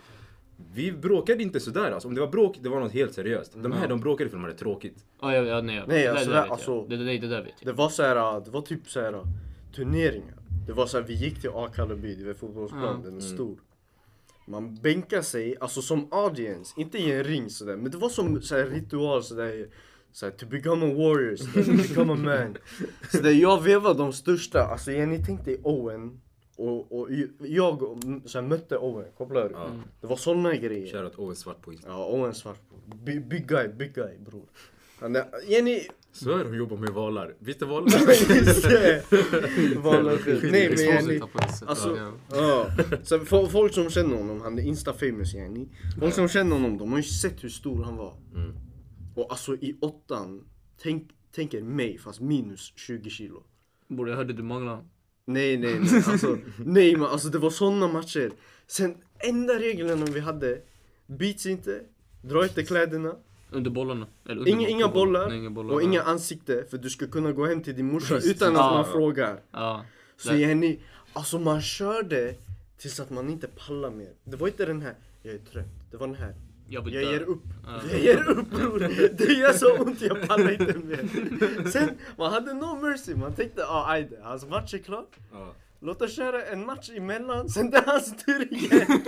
Speaker 1: Vi bråkade inte sådär alltså. Om det var bråk, det var något helt seriöst. De här de bråkade för de hade tråkigt.
Speaker 4: Ja, ja, ja, nej.
Speaker 2: Nej, alltså,
Speaker 4: det, där vet
Speaker 2: alltså-
Speaker 4: jag. det, det, nej, det där vet jag.
Speaker 2: Det var så här, det var typ så här turneringar. Det var så här, vi gick till Akalla by, det var fotbollsplan, den är stor. Man bänkar sig, alltså som audience, inte i en ring sådär, men det var som så här ritual sådär. Så här, to become a warrior, så där, to become a man. Så där, jag vevade de största, alltså ni tänkte dig Owen. Och, och ju- jag och- så här, mötte Owen, kopplar du? Mm. Det var sådana grejer.
Speaker 1: Shoutout Owen Svart på Instagram.
Speaker 2: Ja, Owen Svart bror. Bi- Big guy, big guy bror. Han är, Jenny,
Speaker 1: Svär hon jobbar med valar. Visst är valar?
Speaker 2: Valde skit. Nej men
Speaker 3: Exposit
Speaker 2: yani,
Speaker 3: på det sättet.
Speaker 2: alltså,
Speaker 3: ja.
Speaker 2: ja. Så fo- folk som känner honom, han är insta-famous yani. Folk som känner honom, de har ju sett hur stor han var.
Speaker 3: Mm.
Speaker 2: Och alltså i åttan, tänk, tänk er mig fast minus 20 kilo.
Speaker 4: Bror, jag hörde du manglade.
Speaker 2: Nej nej nej, alltså, nej men alltså det var såna matcher. Sen enda reglerna vi hade, beats inte, dra inte kläderna,
Speaker 4: Under bollarna. Eller under
Speaker 2: inga, inga, bollar,
Speaker 3: Nej, inga bollar,
Speaker 2: och
Speaker 3: ja.
Speaker 2: inga ansikte för du ska kunna gå hem till din morsa utan att man frågar.
Speaker 4: Ja.
Speaker 2: Så
Speaker 4: Där.
Speaker 2: Jenny, alltså man körde tills att man inte pallar mer. Det var inte den här, jag är trött. Det var den här,
Speaker 4: Jag vill
Speaker 2: jag
Speaker 4: dö.
Speaker 2: ger upp. Jag ger upp bror. Det gör så ont, jag pallar inte mer. Sen, man hade no mercy. Man tänkte, ah aj då, hans match är klar.
Speaker 1: Ja.
Speaker 2: Låt oss köra en match emellan, sen det är hans tur igen.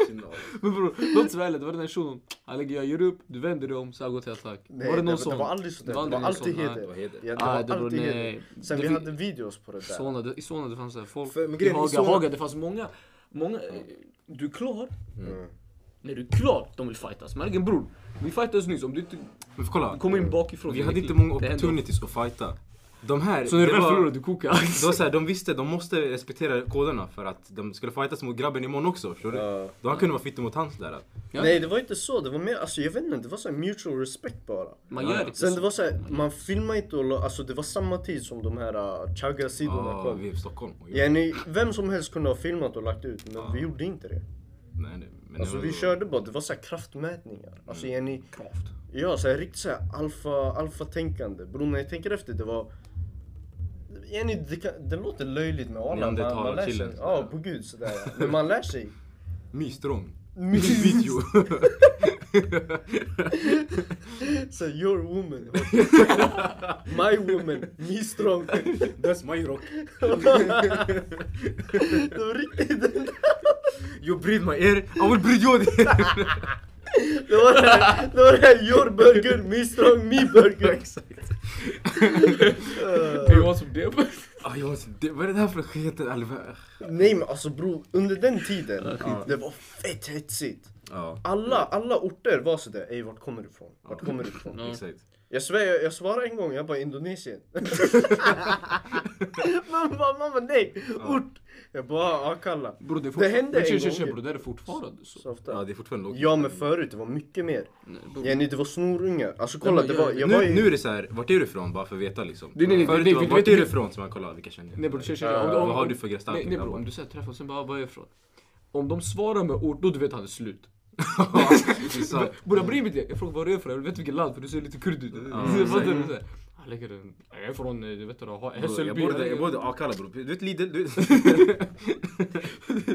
Speaker 3: Men bror, låt oss vara ärliga. Det var den här shunon. Han lägger jag ger upp, du vänder dig om, så här går till attack.
Speaker 2: Nej,
Speaker 3: var det någon
Speaker 2: det,
Speaker 3: sån?
Speaker 2: det var aldrig sådär.
Speaker 3: Det var
Speaker 2: Det var alltid
Speaker 3: aldrig någon sån,
Speaker 1: Det var
Speaker 2: heder.
Speaker 1: heder.
Speaker 2: Ja, det
Speaker 3: Nej, det
Speaker 2: var
Speaker 3: var
Speaker 2: alltid
Speaker 3: nej.
Speaker 2: heder. Sen
Speaker 3: Det
Speaker 2: vi
Speaker 3: fin-
Speaker 2: hade videos på det där.
Speaker 3: Solna, det, I Solna det fanns så här folk.
Speaker 1: För- men
Speaker 3: I
Speaker 1: grejen är, i
Speaker 3: Haga,
Speaker 1: Solna-
Speaker 3: Haga, det fanns många. många eh, Du är klar.
Speaker 2: Mm.
Speaker 4: När du är klar, de vill fightas. Märgen bror, vi fightades nyss. Om du inte
Speaker 1: Men kolla.
Speaker 4: kommer in bakifrån.
Speaker 1: Mm. Vi
Speaker 4: det är
Speaker 1: hade
Speaker 4: äckligt.
Speaker 1: inte många
Speaker 4: Det händer
Speaker 1: opportunities att fighta. De här,
Speaker 3: Så när du
Speaker 1: det
Speaker 3: väl
Speaker 1: var-
Speaker 3: förlorar, du kokar.
Speaker 1: Det var såhär, de visste, de måste respektera koderna för att de skulle fightas mot grabben imorgon också, förstår du?
Speaker 2: Ja.
Speaker 1: Då han kunde vara fitte mot hans där.
Speaker 3: Ja.
Speaker 2: Nej det var inte så, det var mer, alltså jag vet inte, det var så här mutual respect bara.
Speaker 3: Man gör det.
Speaker 1: Alltså,
Speaker 2: Sen det var såhär,
Speaker 1: mm.
Speaker 2: man filmade inte och la- alltså det var samma tid som de här uh, chagga-sidorna
Speaker 1: Ja, vi
Speaker 2: kom.
Speaker 1: är i Stockholm. Oj,
Speaker 2: Jenny, vem som helst kunde ha filmat och lagt ut men vi gjorde inte det.
Speaker 1: nej, nej, men
Speaker 2: Alltså
Speaker 1: det
Speaker 2: vi
Speaker 1: var-
Speaker 2: körde bara, det var såhär kraftmätningar.
Speaker 1: Mm.
Speaker 2: Alltså Jenny,
Speaker 4: Kraft.
Speaker 2: ja såhär riktigt såhär alfa, alfa-tänkande. Bror när jag tänker efter det var Jenny, det, kan, det låter löjligt med alla, man, man lär sig.
Speaker 1: Neandertalarkillen.
Speaker 2: Ja, på gud sådär. ja. Men man lär sig.
Speaker 1: Mystrång. Video.
Speaker 2: Så your woman. My woman, me strong.
Speaker 1: That's my rock.
Speaker 2: Det var riktigt
Speaker 1: You breathe my air, I will breathe you.
Speaker 2: Det var det här, det var det här your burger, me strong, me burger.
Speaker 3: Det var som det.
Speaker 1: ah, jag måste, det, vad är det här för skit? Alver?
Speaker 2: Nej men alltså bro, under den tiden, det var fett hetsigt.
Speaker 1: Ja,
Speaker 2: Alla, alla orter var sådär, ey vart kommer du ifrån? Vart kommer du ifrån?
Speaker 1: exakt.
Speaker 2: Jag svär, jag, jag svarade en gång, jag bara Indonesien. mamma, bara, mamma nej, ort. Jag bara, ja kalla.
Speaker 3: Bror det, är
Speaker 2: Det hände
Speaker 3: Men
Speaker 2: en
Speaker 3: tjej, tjej,
Speaker 2: gång
Speaker 3: tjej,
Speaker 2: ju.
Speaker 3: bror, det är fortfarande så.
Speaker 2: Så ofta.
Speaker 1: Ja, det är fortfarande lågt.
Speaker 2: Ja men förut, det var mycket mer.
Speaker 3: Nej, bror.
Speaker 2: Jenny det var snorungar. Alltså kolla,
Speaker 3: men
Speaker 2: det
Speaker 3: jag-
Speaker 2: var, jag
Speaker 1: nu,
Speaker 2: var ju...
Speaker 1: nu är det så här, vart är du ifrån? Bara för att veta liksom.
Speaker 3: Nej, nej, nej,
Speaker 1: Förut
Speaker 3: nej,
Speaker 1: var,
Speaker 3: vi-
Speaker 1: vart
Speaker 3: vi-
Speaker 1: är du ifrån? Så man kollar, vilka känner jag?
Speaker 3: Nej bror tjej, tjej, om,
Speaker 1: Äh,
Speaker 3: om,
Speaker 1: vad har du för gestaltning,
Speaker 3: Nej, nej bror,
Speaker 1: grabbar?
Speaker 3: om du säger träffar och sen bara, var är jag ifrån? Om de svarar med ord, då du vet han är slut.
Speaker 1: Exakt.
Speaker 3: Bror jag bryr mig inte. Jag frågar var du är ifrån, jag vet vilket land för du ser lite kurd ut. Fattar du? Så här, Han lägger en, jag är från, eh, du vet du, Ha-
Speaker 1: Bror, Jag
Speaker 3: Hässelby.
Speaker 1: borde, jag borde Akalla bror. Du vet Lidl? Du...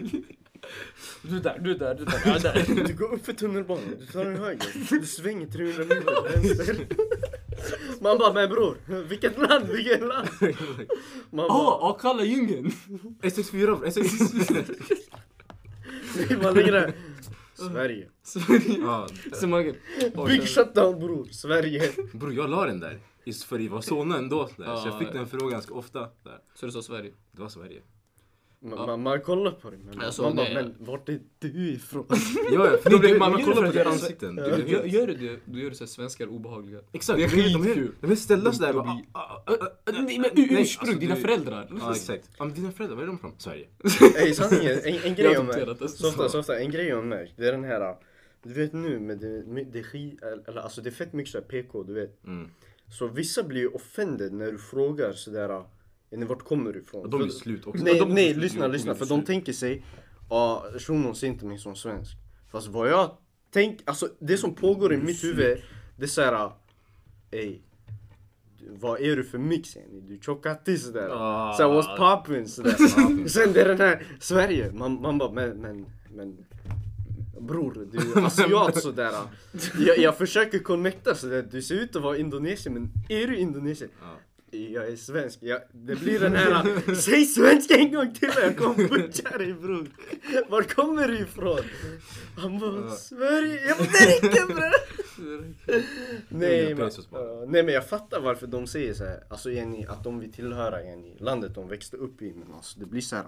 Speaker 3: Du är där, du är där, du är där. Jag är där.
Speaker 2: Du går upp för tunnelbanan, du tar en höger, du svänger 300 meter åt vänster. Man bara, men bror, vilket land, vilket land? Man bara,
Speaker 3: Ah, Akalla djungeln!
Speaker 1: S64 bror, S64.
Speaker 2: nej, man lägger där. Sverige.
Speaker 1: Ja,
Speaker 3: Så man-
Speaker 2: Big shutdown bror, Sverige.
Speaker 1: Bror jag la den där. Just för det var Solna ändå. Där.
Speaker 3: Ja,
Speaker 1: så jag fick
Speaker 3: ja.
Speaker 1: den frågan ganska ofta. Där.
Speaker 3: Så du sa Sverige?
Speaker 1: Det var Sverige.
Speaker 2: Man, man, man kollar på det, men man,
Speaker 3: Alltså,
Speaker 2: bara,
Speaker 3: nej.
Speaker 2: men vart är du ifrån?
Speaker 1: Ja, ja, för då
Speaker 3: Nej,
Speaker 1: blev,
Speaker 3: det-
Speaker 1: man,
Speaker 3: man
Speaker 1: kollar
Speaker 3: gör
Speaker 1: på
Speaker 3: det-
Speaker 1: deras ansikten. Du,
Speaker 3: Du,
Speaker 1: blir
Speaker 3: gör,
Speaker 1: helt-
Speaker 3: gör du det, du gör det så här svenskar obehagliga.
Speaker 1: Exakt.
Speaker 3: det är
Speaker 1: de är- de är-
Speaker 3: skitkul.
Speaker 1: De är ställda sådär. bara,
Speaker 3: blir-
Speaker 1: ah, ah, ah, ah, ah,
Speaker 3: Nej men
Speaker 1: nej,
Speaker 3: ursprung,
Speaker 1: alltså,
Speaker 3: dina
Speaker 1: du-
Speaker 3: föräldrar.
Speaker 1: Ja exakt. Ja, men dina föräldrar, var är de från? Sverige.
Speaker 2: Ey sanningen, en, en grej
Speaker 3: Jag
Speaker 2: om
Speaker 3: adopterat det.
Speaker 2: mig. Så ofta, så ofta, en grej om mig. Det är den här. Du vet nu med det, med det skit, eller alltså det är fett mycket så här PK du vet.
Speaker 1: Mm.
Speaker 2: Så vissa blir ju offended när du frågar sådär. "Är ni, Vart kommer du ifrån?
Speaker 1: Och de är
Speaker 2: För-
Speaker 1: slut också.
Speaker 2: Nej,
Speaker 1: Ja, de är
Speaker 2: nej
Speaker 1: slut.
Speaker 2: lyssna,
Speaker 1: Jo,
Speaker 2: lyssna.
Speaker 1: jo,
Speaker 2: För de
Speaker 1: slut.
Speaker 2: tänker sig, ja shunon ser inte mig som svensk. Fast vad jag tänker, alltså det som pågår i mitt huvud, det är såhär, ey. du- Vad är du för mix yani? Du är chockati sådär.
Speaker 1: Ah.
Speaker 2: Såhär what's poppin sådär. Sen det är den här Sverige, man, man bara men, men, men. Bror, du är asiat sådär. Jag, jag försöker connecta sådär. Du ser ut att vara indonesier men är du indonesier? Jag är svensk. Jag, det blir den här Säg svenska en gång till jag kommer butcha dig bror. Var kommer du ifrån? Han bara Sverige. Jag bara det räcker bror. Nej,
Speaker 1: Hundra
Speaker 2: men,
Speaker 1: pesos bara.
Speaker 2: ja, nej men jag fattar varför de säger så här. Alltså yani, att de vill tillhöra yani, landet de växte upp i. Men alltså det blir så här.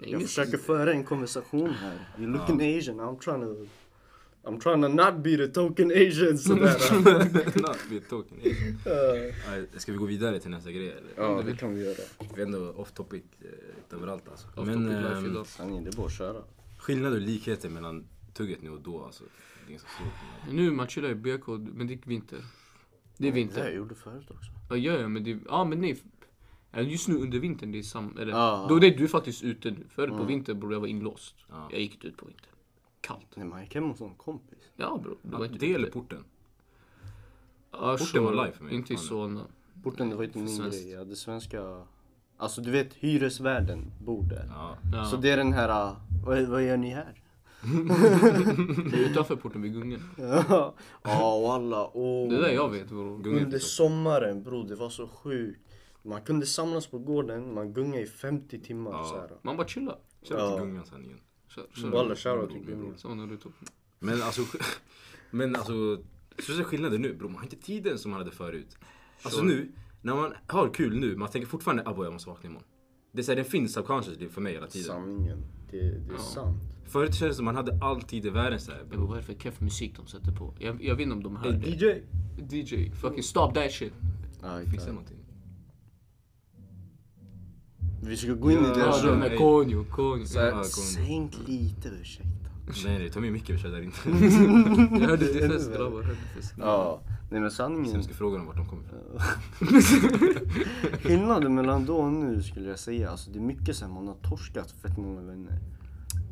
Speaker 2: Jag försöker föra en konversation här. You're looking asian, I'm trying to... I'm trying to not be the token asian sådär.
Speaker 1: Not be talking. Ja, Ska vi gå vidare till nästa grej eller?
Speaker 2: ja, det kan vi göra.
Speaker 1: Vi är ändå off topic eh, överallt alltså.
Speaker 3: Off topic
Speaker 1: eh,
Speaker 3: life idag.
Speaker 2: Sanningen, det är bara att köra.
Speaker 1: skillnader och likheter mellan tugget nu och då alltså. Det är ganska stort.
Speaker 3: Nu man chillar i BK, men det är vinter. Det är
Speaker 2: Det här
Speaker 3: vinter.
Speaker 2: jag gjorde förut också.
Speaker 3: Ja, ja, ja, men det, ja, men nej. Ja, Just nu under vintern, det är samma. Eller,
Speaker 2: Ja. Mm.
Speaker 3: då, nej, du är faktiskt ute nu. Förut på vintern bror, jag var inlåst. Jag gick inte ut på vintern. Kallt.
Speaker 2: Nej, man gick hem hos en kompis.
Speaker 3: Ja bror, du var
Speaker 1: Men
Speaker 3: inte
Speaker 1: Det eller
Speaker 3: ute.
Speaker 1: porten?
Speaker 3: Asch,
Speaker 1: porten var live för mig.
Speaker 3: Inte i
Speaker 1: Fan.
Speaker 3: Solna.
Speaker 2: Porten, det var inte min
Speaker 3: Eh, Svenskt.
Speaker 2: grej. Jag hade svenska... Alltså du vet, hyresvärden bor där.
Speaker 1: Ja.
Speaker 3: Ja.
Speaker 2: Så det är den här, ah, vad, vad gör ni här?
Speaker 3: Det är utanför porten vid Gungan.
Speaker 2: Ja, walla. Oh.
Speaker 3: Det är där jag vet bror.
Speaker 1: Gunga
Speaker 2: Under sommaren bror, det var så sjukt. Man kunde samlas på gården, man gungade i 50 timmar
Speaker 1: Ja.
Speaker 2: så här.
Speaker 3: Man bara chillar.
Speaker 1: Kör
Speaker 2: Ja.
Speaker 1: till gungan sen igen.
Speaker 3: Kör,
Speaker 2: Walla,
Speaker 3: kör.
Speaker 2: shoutout till Gunga.
Speaker 3: Så Naruto.
Speaker 1: Men alltså, men alltså, största skillnaden nu bror, man har inte tiden som man hade förut. Alltså nu, när man har kul nu, man tänker fortfarande aboja jag måste vakna imorgon. Det är så här, den finns subconsciously för mig hela tiden.
Speaker 2: Sanningen. Det, det är sant.
Speaker 1: Förut kändes det som man hade all tid i världen så här,
Speaker 3: Jag bara, vad är det för keff musik de sätter på? Jag, jag vet inte om de hör det.
Speaker 2: DJ.
Speaker 3: DJ, fucking stop that shit.
Speaker 2: Ja,
Speaker 1: Finns det någonting?
Speaker 2: Vi ska gå in i det.
Speaker 3: Ja,
Speaker 1: så-
Speaker 3: den där
Speaker 1: nej.
Speaker 3: Konjo, Konjo.
Speaker 1: Ja, kom.
Speaker 2: Sänk lite, ursäkta.
Speaker 1: Nej nej, ta med mycket vi kör där inte.
Speaker 2: Mm.
Speaker 3: Jag hörde till fest grabbar, hörde till fest.
Speaker 2: Ja, nej men sanningen.
Speaker 1: Sen ska fråga dem vart de kommer ifrån.
Speaker 2: Skillnaden mellan då och nu skulle jag säga, alltså det är mycket sen man har torskat fett många vänner.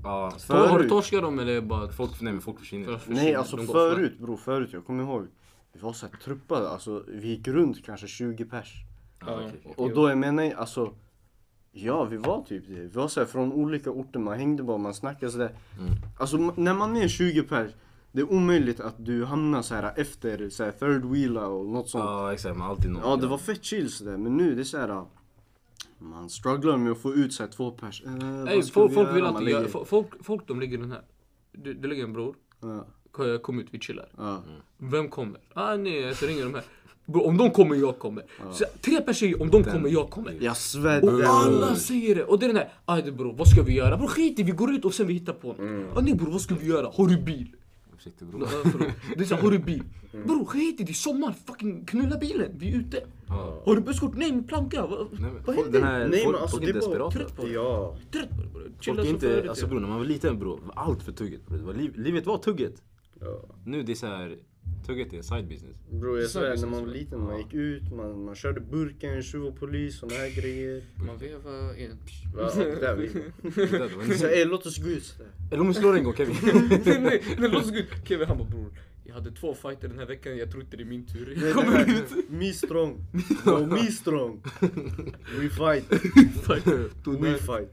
Speaker 1: Ja,
Speaker 2: Förut-
Speaker 3: Har du torskat dem eller är det bara folk?
Speaker 1: folk, nej men folk försvinner.
Speaker 3: försvinner?
Speaker 2: Nej alltså
Speaker 3: De går
Speaker 2: förut bror, förut jag kommer ihåg. Vi var såhär truppade, alltså vi gick runt kanske 20 pers.
Speaker 1: Ja, okej, okej.
Speaker 2: Och då jag menar jag, alltså Ja vi var typ det, vi var såhär från olika orter, man hängde bara, man snackade sådär
Speaker 3: Mm.
Speaker 2: Alltså ma- när man är 20 pers Det är omöjligt att du hamnar såhär efter såhär third wheeler och något sånt
Speaker 1: Ja exakt, man har alltid någon.
Speaker 2: Ja det var fett chill sådär, men nu det är såhär Man strugglar med att få ut såhär två pers Eh, vad
Speaker 3: Nej,
Speaker 2: ska
Speaker 3: folk,
Speaker 2: vi
Speaker 3: folk
Speaker 2: göra?
Speaker 3: vill
Speaker 2: Man
Speaker 3: alltid
Speaker 2: lägger-
Speaker 3: göra, fo- folk, folk de lägger den här. Du, du lägger en bror,
Speaker 2: Ja,
Speaker 3: K- kom ut, vi chillar.
Speaker 2: ja.
Speaker 3: Vem kommer? Ah nej, jag ringer de här. Bro, om de kommer, jag kommer. Så, tre personer, om de kommer, jag kommer.
Speaker 2: Jag svär
Speaker 3: Och
Speaker 2: det-
Speaker 3: alla säger det! Och det är den här, aj det bror, vad ska vi göra? Bror skit i, vi går ut och sen vi hittar på något.
Speaker 1: Mm.
Speaker 3: Ah, nej bror, vad ska vi göra? Har du bil?
Speaker 1: Försiktig
Speaker 3: Ja,
Speaker 1: bror.
Speaker 3: förlåt. Det är såhär, har du bil?
Speaker 1: Mm.
Speaker 3: Bror skit i, det är sommar, fucking knulla bilen, vi är ute. Har du busskort? Nej, men planka. Vad,
Speaker 1: Nej, men,
Speaker 3: vad
Speaker 1: folk,
Speaker 3: händer?
Speaker 1: den här,
Speaker 2: Nej,
Speaker 1: folk,
Speaker 2: men alltså,
Speaker 1: folk
Speaker 2: det
Speaker 1: är
Speaker 2: är bara
Speaker 1: desperata.
Speaker 3: trött på det.
Speaker 2: Ja,
Speaker 3: Trött bror, bror.
Speaker 1: Folk
Speaker 3: Chilla
Speaker 1: är
Speaker 3: som
Speaker 1: inte,
Speaker 3: förut.
Speaker 1: alltså bror när man var liten bror, var allt för tugget bror. Det var liv, livet var tugget. Nu det är så här, tugget är side business.
Speaker 2: Bror jag
Speaker 3: Så
Speaker 2: svär,
Speaker 3: visst,
Speaker 2: när man
Speaker 3: så.
Speaker 2: var liten, man gick ut, man, man körde burken, tjuv och polis, såna här grejer.
Speaker 3: Man vevar in.
Speaker 2: Va, det där vi. Så, ey, låt oss gå ut sådär.
Speaker 1: Eller om vi slår en gång Kevin.
Speaker 3: nej, nej, nej, låt oss gå ut. Kevin han bara bror, jag hade två fighter den här veckan, jag tror inte det är min tur. Jag kommer ut.
Speaker 2: Me strong. No, me strong. We fight. We fight.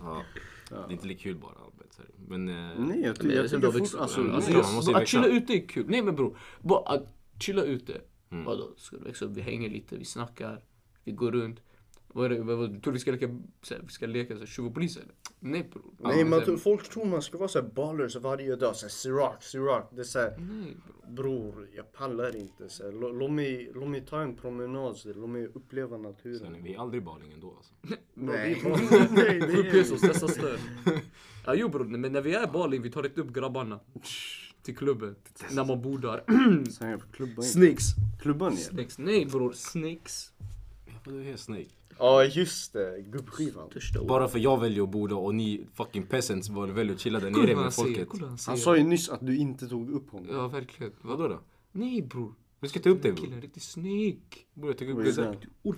Speaker 1: ja. Det är inte lika kul bara Albert. sorry. Men eh,
Speaker 2: Nej jag
Speaker 3: Men
Speaker 2: tycker
Speaker 3: jag
Speaker 2: jag
Speaker 3: ser
Speaker 2: tycker
Speaker 3: bra
Speaker 2: fort,
Speaker 3: växel.
Speaker 2: alltså,
Speaker 1: Ja,
Speaker 2: nej,
Speaker 1: man måste ju
Speaker 3: att
Speaker 1: växa.
Speaker 3: chilla ute är kul. Nej men bror, bara att chilla ute.
Speaker 1: Mm.
Speaker 3: Vadå, ska du växa upp? Vi hänger lite, vi snackar, vi går runt. Vad är det, vad, vad, tror du vi ska leka, så här, vi ska leka så här, tjuv och polis eller? Nej bror.
Speaker 2: nej man,
Speaker 3: Så här,
Speaker 2: tror- folk tror man ska vara såhär ballers varje dag, såhär Ciroc, Ciroc. Det är såhär,
Speaker 3: Nej bror.
Speaker 2: bror jag pallar inte. Så här, lå- Låt mig, låt mig ta en promenad, så här, låt mig uppleva naturen.
Speaker 1: sen, vi är aldrig i Baling ändå alltså.
Speaker 2: Nej. nej,
Speaker 3: Sju
Speaker 2: nej.
Speaker 3: pesos, dessa stör. Ja jo bror, men när vi är i Bali, vi tar inte upp grabbarna. Till klubben, när man bor där.
Speaker 2: Sen jag får klubba in.
Speaker 3: Snicks.
Speaker 2: Klubba ner.
Speaker 3: Snicks. Nej bror, snicks.
Speaker 1: Varför du är snake?
Speaker 2: Ja just det, gubbskivan.
Speaker 3: Törsta ord.
Speaker 1: Bara för jag väljer att bo där och ni fucking peasants var- väljer att chilla där
Speaker 3: Kolla
Speaker 1: nere
Speaker 3: vad han
Speaker 1: med
Speaker 3: säger,
Speaker 1: folket.
Speaker 3: kolla vad han säger.
Speaker 2: Han sa ju nyss att du inte tog upp honom.
Speaker 3: Ja verkligen. Vadå?
Speaker 1: Vadå då?
Speaker 3: Nej bror.
Speaker 1: Vi ska ta upp det
Speaker 3: Killen
Speaker 1: bror.
Speaker 3: är riktigt snygg.
Speaker 1: Bror, Jag tycker
Speaker 2: Vad gjorde
Speaker 1: upp
Speaker 2: han?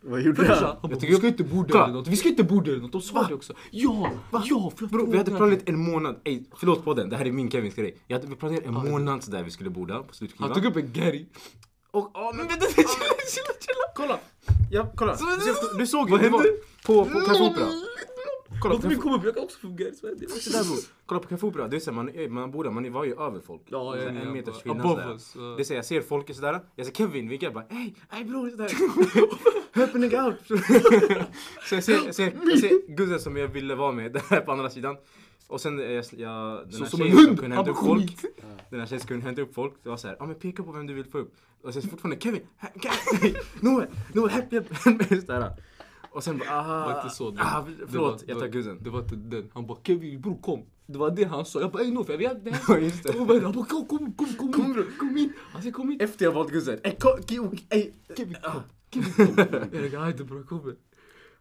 Speaker 2: Vad gjorde
Speaker 3: Brorsan,
Speaker 2: han?
Speaker 3: han bara,
Speaker 1: tycker
Speaker 3: vi ska
Speaker 1: jag-
Speaker 3: inte bo där
Speaker 1: Kolla.
Speaker 3: eller något. Vi ska inte bo där eller något. De sa det också. Ja, ja. För jag
Speaker 1: Bro, vi hade
Speaker 3: frågade.
Speaker 1: planerat en månad, ey förlåt podden, det här är min Kevins grej. Jag hade, vi planerat en månad sådär vi skulle bo där på slutskivan.
Speaker 3: Han tog upp en Gary.
Speaker 1: Och, ja, men vänta, chilla, chilla, chilla! Kolla! Ja, kolla. Du, du såg ju, det var på, på Kaffe Opera. Kolla
Speaker 4: Låt
Speaker 1: på
Speaker 4: mig
Speaker 1: Kung Fu-
Speaker 4: komma upp, jag kan också fungera i Sverige.
Speaker 1: se där, bror. Kolla på Kung Fu bror. Det är så här, man, man borde, man var ju över folk.
Speaker 3: Ja,
Speaker 1: Det är
Speaker 3: ja,
Speaker 1: så här
Speaker 3: ja,
Speaker 1: en meters
Speaker 3: bara-
Speaker 1: skillnad.
Speaker 3: above
Speaker 1: sådär.
Speaker 3: us, ja.
Speaker 1: Det är så här, jag ser folk sådär. Jag ser Kevin vinkar jag bara ey, ey bror. Sådär. Happening out. så jag ser, jag ser, jag ser gudsen som jag ville vara med där på andra sidan. Och sen eh, jag, jag den
Speaker 3: Så
Speaker 1: här
Speaker 3: som en
Speaker 1: tjejen som
Speaker 3: hund,
Speaker 1: kunde
Speaker 3: han
Speaker 1: hämta upp
Speaker 3: bara,
Speaker 1: folk. Den här tjejen som kunde hämta upp folk. Det var såhär, ja men peka på vem du vill få upp. Och sen fortfarande Kevin, här, Kevin, Noel, Noel, hjälp, hjälp. Sådär. Och sen bara, aha,
Speaker 3: var inte så. Det,
Speaker 1: ah,
Speaker 3: det
Speaker 1: förlåt,
Speaker 3: var-
Speaker 1: jag tar gudsen.
Speaker 3: Det var inte den. Han bara Kevin bror kom. Det var det han sa. Jag bara ey Nof jag vet det här.
Speaker 1: Ja, just det.
Speaker 3: Och bara, Han bara kom kom kom kom in. Kom in. Han säger kom in.
Speaker 1: Efter jag valt gudsen. Ey, kom, kom, ey.
Speaker 3: Kevin kom. Kevin kom. Jag lägger ajde bror jag kommer.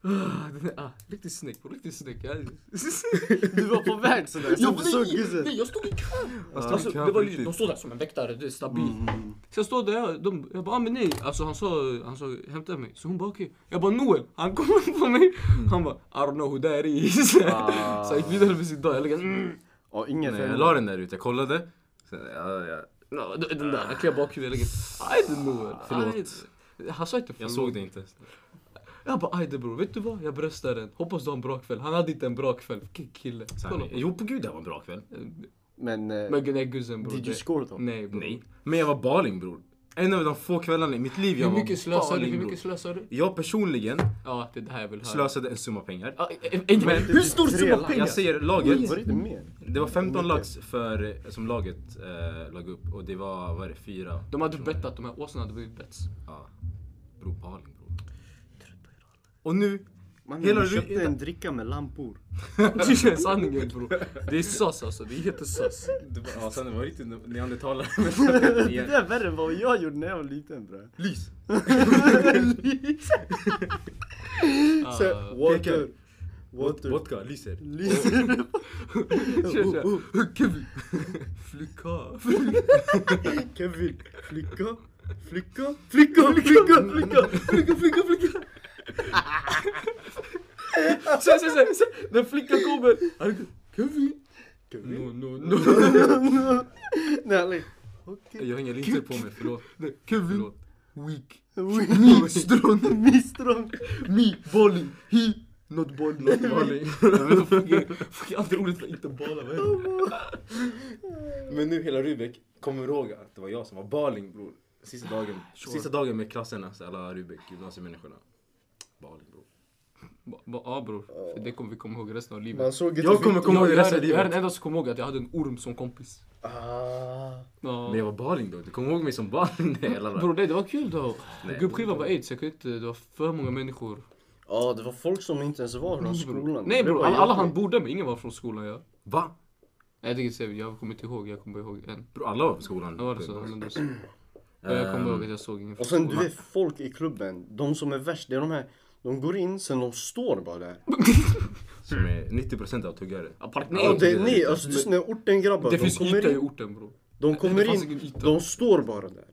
Speaker 3: Ah, den är, ah, riktig snäck bror, riktig snäck. Jag-
Speaker 2: Du var på väg sådär, sen du såg
Speaker 4: nej,
Speaker 2: gudsen.
Speaker 4: nej, jag stod i kö!
Speaker 1: stod i
Speaker 4: Alltså,
Speaker 1: kö
Speaker 4: det
Speaker 1: på
Speaker 4: var ju,
Speaker 1: riktigt.
Speaker 4: de stod där som en väktare, det är stabilt.
Speaker 3: Så jag står där, de, jag bara ah, men nej, alltså han sa, han sa hämta mig. Så hon bara okej. Jag bara Noel, han kommer på mig. Han bara I don't know who that is.
Speaker 2: Ah.
Speaker 3: Så jag gick vidare med sin dag. Jag lägger mm.
Speaker 2: Ja, ingen
Speaker 1: Nej, jag la den där ute, jag kollade. Sen, ja, ja.
Speaker 3: no, den den där, jag kliar bakhuvudet. Jag lägger I don't know.
Speaker 1: Förlåt.
Speaker 3: I- Han sa inte förlåt.
Speaker 1: Jag såg det inte.
Speaker 3: Jag bara ajde bror, vet du vad? Jag bröstar den. Hoppas du har en bra kväll. Han hade inte en bra kväll. Vilken kille. Kolla.
Speaker 1: Sen, jo, på gud det här var en bra kväll.
Speaker 2: Men, eh,
Speaker 3: Men nej gudsen bror.
Speaker 2: did you
Speaker 3: det-
Speaker 2: score då?
Speaker 3: Nej bror.
Speaker 1: Nej. Men jag var baling bror. En av de få kvällarna i mitt liv jag
Speaker 3: Hur
Speaker 1: var
Speaker 3: mycket slösar du?
Speaker 1: baling,
Speaker 3: Hur
Speaker 1: bror.
Speaker 3: mycket slösar du?
Speaker 1: Jag personligen
Speaker 3: Ja, det är det här jag vill höra.
Speaker 1: slösade en summa pengar.
Speaker 3: Ah, eh, eh, inte-
Speaker 2: Men-
Speaker 4: Hur stor
Speaker 2: Tre
Speaker 4: summa
Speaker 2: lax.
Speaker 4: pengar?
Speaker 1: Jag säger
Speaker 2: Var det
Speaker 1: laget.
Speaker 2: inte mer?
Speaker 1: Det var 15 lax för, som laget eh, lag upp och det var, vad är det, fyra?
Speaker 3: De hade bettat, de här åsarna hade blivit bets.
Speaker 1: Ja. Bror, baling bror. Och nu,
Speaker 2: Man,
Speaker 1: Hela
Speaker 2: Hela
Speaker 1: ru-
Speaker 2: köpte en dricka med lampor.
Speaker 3: Det är sanningen bror. Det är sus alltså, det är jättesus.
Speaker 1: det var, ja, sen det var riktigt neandertalare.
Speaker 2: Det där är värre än vad jag gjorde när jag var liten bre.
Speaker 1: Lys!
Speaker 2: Så,
Speaker 3: Ah,
Speaker 1: pekar.
Speaker 2: water. Water.
Speaker 1: Vodka, lyser.
Speaker 2: Lyser.
Speaker 3: Tja, tja. Kevin! Flicka!
Speaker 2: Kevin, flicka, flicka, flicka, flicka, flicka.
Speaker 3: Flicka, flicka, flicka! Se, se, se, se! När flickan kommer! han går, Kevin!
Speaker 2: Kevin.
Speaker 3: No, no, no!
Speaker 2: Nej, Ali. Okej.
Speaker 1: Jag har inga linser på mig, förlåt.
Speaker 3: Nej, Kevin!
Speaker 1: förlåt.
Speaker 3: Weak!
Speaker 2: Mistron. Mistron.
Speaker 3: Me! Volley! He! Not ball, not volley. Jag vet inte, fucking- fucking andra ordet för inte balla, vad heter det?
Speaker 1: Men nu hela Rubik kommer ihåg att det var jag som var baling bror. Sista dagen,
Speaker 3: Ah,
Speaker 1: sista dagen med klasserna, så alla Rubik, gymnasiemänniskorna. Baling bror.
Speaker 3: Ba- ba- Ja ah, bror, För det kommer vi komma ihåg resten av livet.
Speaker 2: Man såg inte
Speaker 1: Jag kommer komma
Speaker 3: Jag,
Speaker 1: ihåg
Speaker 3: jag,
Speaker 1: resten
Speaker 3: är,
Speaker 1: av
Speaker 3: jag är den
Speaker 1: livet.
Speaker 3: enda som kommer ihåg att jag hade en orm som kompis.
Speaker 2: Ah.
Speaker 3: Ja.
Speaker 1: Men jag var baling då, du kommer ihåg mig som baling? Nej jag laddar.
Speaker 3: Bror nej, det var kul då.
Speaker 1: Nej.
Speaker 3: Gubbskivan var aids, jag kunde inte, det var för många människor.
Speaker 2: Ja, det var folk som inte ens var från skolan.
Speaker 3: Nej
Speaker 2: Det
Speaker 3: bror,
Speaker 2: var
Speaker 3: alla, alla
Speaker 2: jobbigt.
Speaker 3: han borde med, ingen var från skolan ja.
Speaker 1: Va?
Speaker 3: Nej det kan jag jag kommer inte ihåg, jag kommer bara ihåg en.
Speaker 1: Bror alla var på skolan.
Speaker 3: Ja var det så? Ja, men då så. Ja, jag kommer ihåg att jag såg ingen från
Speaker 2: Och sen du
Speaker 3: skolan.
Speaker 2: vet folk i klubben, de som är värst, det är de här, de går in sen de står bara där.
Speaker 1: Som är 90% av tuggare.
Speaker 3: Ja, park,
Speaker 2: Ja,
Speaker 3: nej,
Speaker 2: det är ni, alltså det är såna orten grabbar.
Speaker 3: det
Speaker 2: de
Speaker 3: finns
Speaker 2: kommer
Speaker 3: yta i
Speaker 2: in,
Speaker 3: orten bror.
Speaker 2: de
Speaker 3: det
Speaker 2: kommer
Speaker 3: fanns
Speaker 2: in,
Speaker 3: ingen yta.
Speaker 2: de står bara där.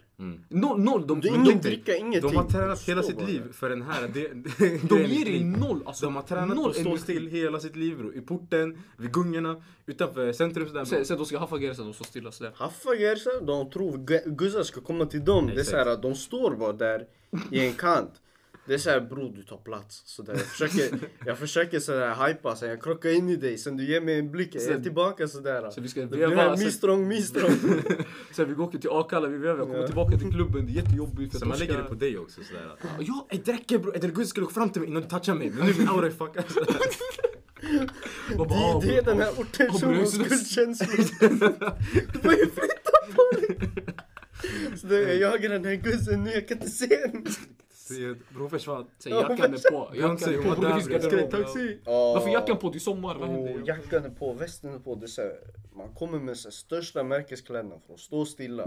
Speaker 3: Noll, noll, de,
Speaker 2: Det är
Speaker 3: men
Speaker 2: ingen
Speaker 3: de,
Speaker 2: dricka, ingenting.
Speaker 1: De har tränat hela
Speaker 2: står
Speaker 1: sitt
Speaker 2: bara
Speaker 1: liv
Speaker 2: där.
Speaker 1: för den här. Det, det,
Speaker 3: de
Speaker 1: grejen i
Speaker 3: ger
Speaker 1: sitt
Speaker 3: dig
Speaker 1: liv.
Speaker 3: noll alltså.
Speaker 1: De har tränat på
Speaker 3: noll
Speaker 1: att stå
Speaker 3: energi.
Speaker 1: still hela sitt liv bror. I porten, vid gungorna, utanför centrum sådär.
Speaker 3: Sen, sen de ska haffa gränsen, de står stilla sådär.
Speaker 2: Haffa Gersa, de tror gu- guzzar ska komma till dem. Det är
Speaker 1: Exakt.
Speaker 2: såhär, att de står bara där i en kant. Det är såhär bror du tar plats. Så där. Jag försöker, jag försöker sådär hypa, så jag krockar in i dig, sen du ger mig en blick, jag är
Speaker 3: Sen-
Speaker 2: tillbaka sådär.
Speaker 3: Så vi ska
Speaker 2: det blir här
Speaker 3: veva, sen,
Speaker 2: mistrong, mistrong.
Speaker 3: sen vi går till Akalla, vi vevar, jag kommer
Speaker 2: Ja.
Speaker 3: tillbaka till klubben, det är jättejobbigt. för
Speaker 1: Så man
Speaker 3: att de
Speaker 1: lägger
Speaker 3: ska-
Speaker 1: det på dig också sådär.
Speaker 3: Ja,
Speaker 1: Ey Drake bror, Edel Guz skulle gå fram till mig innan du touchar mig. Men nu är min aura alltså. är fuckad.
Speaker 3: man bara, ah,
Speaker 2: Det, det är
Speaker 3: bror.
Speaker 2: den här orten
Speaker 3: Ja,
Speaker 2: som
Speaker 3: men det är
Speaker 2: har
Speaker 3: så-
Speaker 2: skuldkänslor. Du får ju flytta på dig. Så det, jag jagar den här gussen nu, jag kan inte se henne.
Speaker 1: Se, Bror försvann.
Speaker 3: Sen jackan är på, jackan
Speaker 1: Beyoncé,
Speaker 3: är
Speaker 1: hon var
Speaker 3: på, bror, det
Speaker 1: där,
Speaker 3: finns
Speaker 1: bror. Jag ska
Speaker 3: garderob.
Speaker 1: ta taxi.
Speaker 2: Oh.
Speaker 3: Varför jackan på? Det är sommar, vad händer?
Speaker 2: Och jackan är på, västen är på. Det är så här, man kommer med så här, största märkeskläderna för att stå stilla.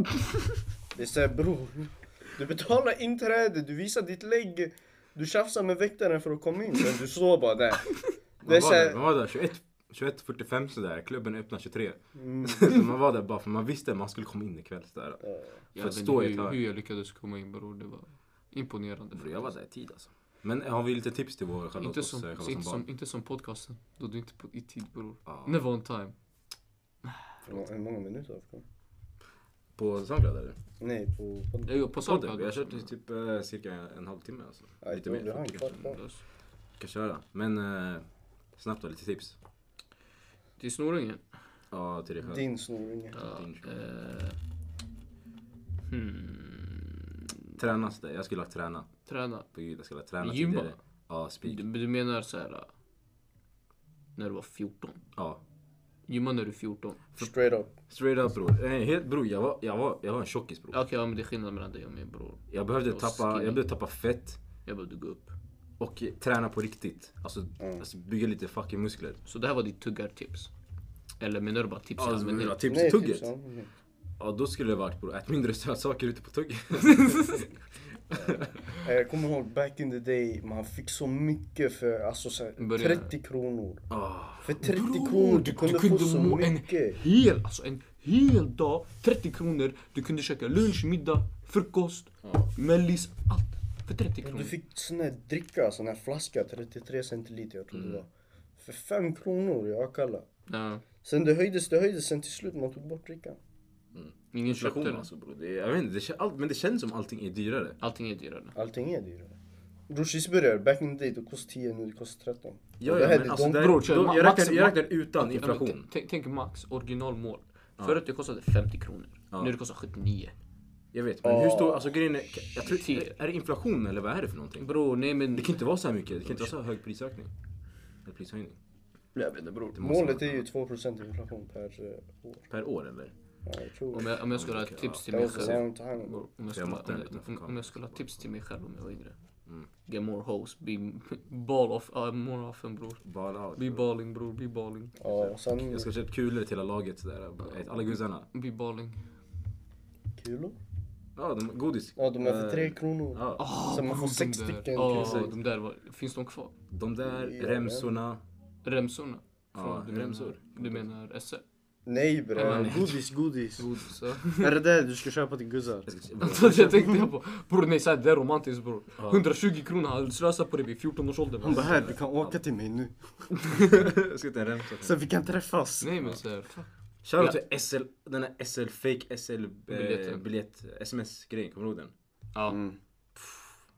Speaker 2: Det är såhär bror, du betalar inträde, du visar ditt lägg. Du tjafsar med väktaren för att komma in, men du står bara där. Det
Speaker 1: Man
Speaker 2: är
Speaker 1: var där, man
Speaker 2: såhär,
Speaker 1: var där 21, 21.45 sådär. Klubben öppnar 23.
Speaker 2: Mm.
Speaker 1: Så man var där bara för man visste att man skulle komma in ikväll sådär.
Speaker 3: Jag
Speaker 1: För
Speaker 3: vet
Speaker 1: att
Speaker 3: inte
Speaker 1: stå i ett
Speaker 3: hur, hur
Speaker 1: hörn.
Speaker 3: jag lyckades komma in bror, det var imponerande.
Speaker 1: Bror, Jag var där i tid alltså. Men har vi lite tips till vår själva
Speaker 3: Inte
Speaker 1: oss,
Speaker 3: som,
Speaker 1: eh, själva
Speaker 3: inte,
Speaker 1: barn?
Speaker 3: som, inte som podcasten, då du inte på, i tid bror.
Speaker 1: Ja.
Speaker 3: Never on time.
Speaker 2: hur många minuter har vi kvar?
Speaker 1: På Soundcloud eller?
Speaker 2: Nej, på... på
Speaker 3: Jag gör på
Speaker 1: Podden.
Speaker 3: Soundcloud.
Speaker 1: Vi har
Speaker 3: också,
Speaker 1: kört i typ eh, cirka en halvtimme alltså.
Speaker 2: Nej,
Speaker 1: Lite
Speaker 2: då blir
Speaker 3: Mm.
Speaker 1: mer.
Speaker 2: han
Speaker 1: 40
Speaker 2: kvar.
Speaker 1: kanske.
Speaker 3: men-
Speaker 1: Kan köra. Men eh, Snabbt då, lite tips.
Speaker 3: Till snorungen?
Speaker 1: Ja, till dig själv.
Speaker 2: Din snorunge.
Speaker 3: Ja,
Speaker 1: Din kör.
Speaker 3: eh, hmm,
Speaker 1: Tränas det? Jag skulle ha tränat.
Speaker 3: träna.
Speaker 1: På gud, jag skulle ha tränat
Speaker 3: Gympa?
Speaker 1: tidigare. Ja, spik.
Speaker 3: Du, du menar så här. eh, När du var 14?
Speaker 1: Ja.
Speaker 3: Gymma när du är 14?
Speaker 2: Straight up.
Speaker 1: Straight up bror. Nej, helt, bror jag var, jag var, jag var en tjockis bror.
Speaker 3: Okej, ja, men det är skillnad mellan dig och mig bror.
Speaker 1: Jag behövde,
Speaker 3: Jag var
Speaker 1: tappa, jag
Speaker 3: skinny.
Speaker 1: behövde tappa fett
Speaker 3: Jag behövde gå upp.
Speaker 1: och träna på riktigt. Alltså, alltså bygga lite fucking muskler.
Speaker 3: Så det här var ditt tuggartips? Eller menar du bara tips i
Speaker 1: Alltså, vill du ha
Speaker 3: allmänhet?
Speaker 1: tips i tugget?
Speaker 2: tips, ja.
Speaker 1: Ja, då skulle det varit bror, ät mindre sötsaker ute på tugget.
Speaker 2: Eh, Jag kommer ihåg back in the day, man fick så mycket för alltså, så här,
Speaker 3: Börja.
Speaker 2: 30 kronor.
Speaker 1: Ah.
Speaker 2: För 30 kronor du kunde, få så
Speaker 3: må
Speaker 2: mycket.
Speaker 3: en hel, alltså en hel dag, 30 kronor. Du kunde käka lunch, middag, frukost, mellis, allt. För 30
Speaker 2: Du
Speaker 3: kronor.
Speaker 2: fick sån här dricka, sån här flaska, 33 centiliter jag tror det var. För 5 kronor, jag kallar.
Speaker 3: Ja,
Speaker 2: Sen det höjdes, det höjdes, sen till slut man tog bort drickan.
Speaker 3: ingen köpte
Speaker 1: Inflation
Speaker 3: den.
Speaker 1: alltså bror. Det, är- jag vet inte, det, kän- allt, men det känns som allting är dyrare.
Speaker 3: Allting är dyrare.
Speaker 2: Allting är dyrare. Bror cheeseburgare, back in the day, det kostade 10, nu det kostar 13.
Speaker 1: Ja,
Speaker 2: Och
Speaker 1: ja,
Speaker 2: här,
Speaker 1: men
Speaker 2: det-
Speaker 1: alltså,
Speaker 2: de-
Speaker 1: där,
Speaker 3: bror, kör,
Speaker 1: då,
Speaker 3: ma-
Speaker 1: jag, räknar,
Speaker 3: max-
Speaker 1: jag räknar utan
Speaker 3: Ja, men t-
Speaker 1: inflation.
Speaker 3: tänk- Tänk max originalmål. Förut det kostade 50 kronor.
Speaker 1: Ja.
Speaker 3: Nu det kostar 79.
Speaker 1: Jag vet, men hur stor, alltså grejen är, jag tror,
Speaker 3: Shit.
Speaker 1: är det inflation eller vad är det för någonting?
Speaker 3: Bror, nej men...
Speaker 1: Det kan inte vara så här mycket, det kan inte vara så här hög prisökning. Eller prishöjning.
Speaker 2: Jag vet inte bror.
Speaker 1: måste
Speaker 2: Målet
Speaker 1: man-
Speaker 2: är ju 2% inflation per eh, år.
Speaker 1: Per år eller?
Speaker 2: Ja, jag tror
Speaker 3: Om
Speaker 2: det.
Speaker 3: jag, om jag skulle ha
Speaker 1: Okej,
Speaker 3: ett tips till
Speaker 2: That
Speaker 3: mig
Speaker 2: was a
Speaker 3: själv.
Speaker 2: long time ago.
Speaker 3: Bror, Om jag
Speaker 1: För jag
Speaker 3: skulle,
Speaker 1: matte
Speaker 3: om,
Speaker 1: lite
Speaker 3: jag-
Speaker 1: för
Speaker 3: om,
Speaker 1: kameran.
Speaker 3: om jag skulle ha tips till mig själv om jag var yngre. Get more hoes, be ball off, uh, more often bror.
Speaker 1: Bara out.
Speaker 3: Be balling bror, be balling.
Speaker 2: Ja, sen...
Speaker 1: Jag ska köpa kulor till hela laget sådär. Bara, Alla gussarna.
Speaker 3: Be balling.
Speaker 2: Kulor?
Speaker 1: Ja, de, godis.
Speaker 2: Ja, de är för
Speaker 1: Eh,
Speaker 2: 3 kronor.
Speaker 1: Ja,
Speaker 3: Oh,
Speaker 2: Så man får sex
Speaker 3: de där.
Speaker 2: stycken
Speaker 3: Ja,
Speaker 1: kulor.
Speaker 3: de där var, finns de kvar?
Speaker 1: de där
Speaker 2: Ja,
Speaker 1: remsorna.
Speaker 3: Remsorna?
Speaker 1: Ja,
Speaker 3: du menar-
Speaker 1: remsor.
Speaker 3: Du menar SL?
Speaker 2: Nej bre,
Speaker 3: Ja,
Speaker 1: nej.
Speaker 2: Eh, godis, godis.
Speaker 3: Godis? ja.
Speaker 2: Är det där du ska köpa till guzzar?
Speaker 1: Jag ska-
Speaker 3: Alltså, jag tänkte jag på. Bror nej såhär, det är romantiskt bror.
Speaker 1: Ja.
Speaker 3: 120 kronor, han slösade på det vid 14 års ålder.
Speaker 2: Han bara här, du kan åka till mig nu.
Speaker 1: Jag ska ta en remsa.
Speaker 2: Så vi kan träffas.
Speaker 3: Nej men såhär, fuck.
Speaker 1: Shoutout till SL, den här SL fake SL eh,
Speaker 3: Biljetten.
Speaker 1: biljett, sms grejen, kommer du ihåg den?
Speaker 3: Ja.
Speaker 2: Mm.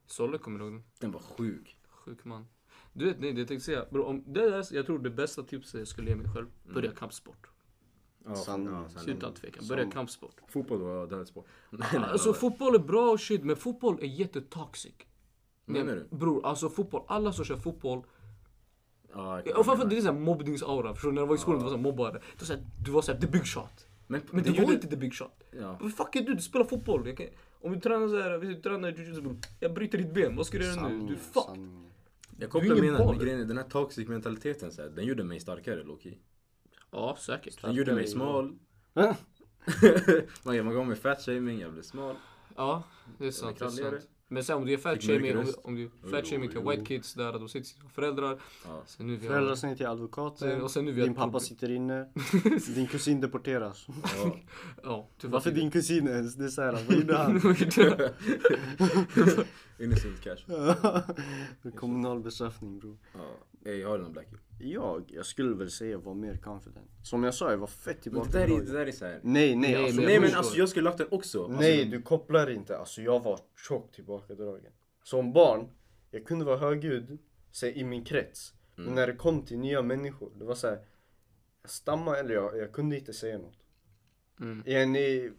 Speaker 3: Solle kommer du ihåg den?
Speaker 1: Den var sjuk.
Speaker 3: Sjuk man. Du vet, nej det tänkte jag säga. Bro, om det där, jag tror det bästa tipset jag skulle ge mig själv. Börja kampsport.
Speaker 1: Mm. Ja,
Speaker 2: Sann-
Speaker 1: ja,
Speaker 3: Så utan tvekan, börja kampsport.
Speaker 1: Fotboll var dödssport. Nej, nej,
Speaker 3: Alltså
Speaker 1: vad-
Speaker 3: fotboll är bra och shit, men fotboll är jättetoxic.
Speaker 1: Menar du?
Speaker 3: Bror, alltså fotboll, alla som kör fotboll.
Speaker 1: Ja, jag
Speaker 3: Och
Speaker 1: kan-
Speaker 3: framförallt det är såhär mobbningsaura. Förstår du? När jag var i skolan, det var såhär mobbare. Då såhär, du var såhär the big shot.
Speaker 1: Men,
Speaker 3: Men det,
Speaker 1: det
Speaker 3: var
Speaker 1: gjorde...
Speaker 3: inte the big shot.
Speaker 1: Ja.
Speaker 3: Vad fuck är du? Du spelar fotboll. Jag kan, om du tränar såhär, vi tränar jujutsu bror. Jag bryter ditt ben, vad ska du göra nu? Du är fucked.
Speaker 2: sanningen.
Speaker 1: Jag
Speaker 3: Du
Speaker 1: kopplar
Speaker 3: är
Speaker 1: med
Speaker 3: ingen
Speaker 1: den, men
Speaker 3: boll.
Speaker 1: grejen är den här toxic mentaliteten så här, den gjorde mig starkare Loki.
Speaker 3: Ja, säkert.
Speaker 1: Den gjorde mig smal.
Speaker 2: Va?
Speaker 1: man, man gav mig fat shaming, jag blev smal.
Speaker 3: Ja, det är sant. Det är
Speaker 1: kralligare.
Speaker 3: sant. Men sen om du är fat
Speaker 1: Fick mörk
Speaker 3: shaming, om,
Speaker 1: röst.
Speaker 3: om du är fat shaming till
Speaker 1: jo.
Speaker 3: white kids där, då sitter sina föräldrar.
Speaker 1: Ja.
Speaker 3: Sen nu vi
Speaker 2: Föräldrar
Speaker 3: har,
Speaker 2: säger till advokaten.
Speaker 3: Och sen nu vi har
Speaker 2: din
Speaker 3: ett
Speaker 2: pappa
Speaker 3: problem.
Speaker 2: sitter inne. din kusin deporteras.
Speaker 1: Ja.
Speaker 3: ja, typ
Speaker 2: Varför din kusin ens? Det är såhär, vad gjorde han?
Speaker 1: Innocent cash.
Speaker 2: Kommunal bestraffning bror.
Speaker 1: Ja. Ey, har du någon blackie?
Speaker 2: Jag, jag skulle väl säga var mer confident. Som jag sa, jag var fett
Speaker 1: Men
Speaker 2: tillbaka.
Speaker 1: det där är,
Speaker 2: i
Speaker 1: det
Speaker 2: laget.
Speaker 1: där är så här.
Speaker 2: Nej, nej.
Speaker 3: Nej,
Speaker 2: alltså,
Speaker 3: men
Speaker 1: Nej men
Speaker 3: förstår.
Speaker 1: alltså jag skulle lagt den också. Alltså,
Speaker 2: Nej, du kopplar inte. Alltså jag var tjockt tillbakadragen. Som barn, jag kunde vara högljudd så, i min krets. Men när det kom till nya människor, det var så här. Jag stammade eller jag, jag kunde inte säga något.
Speaker 3: Mm.
Speaker 2: Är ni,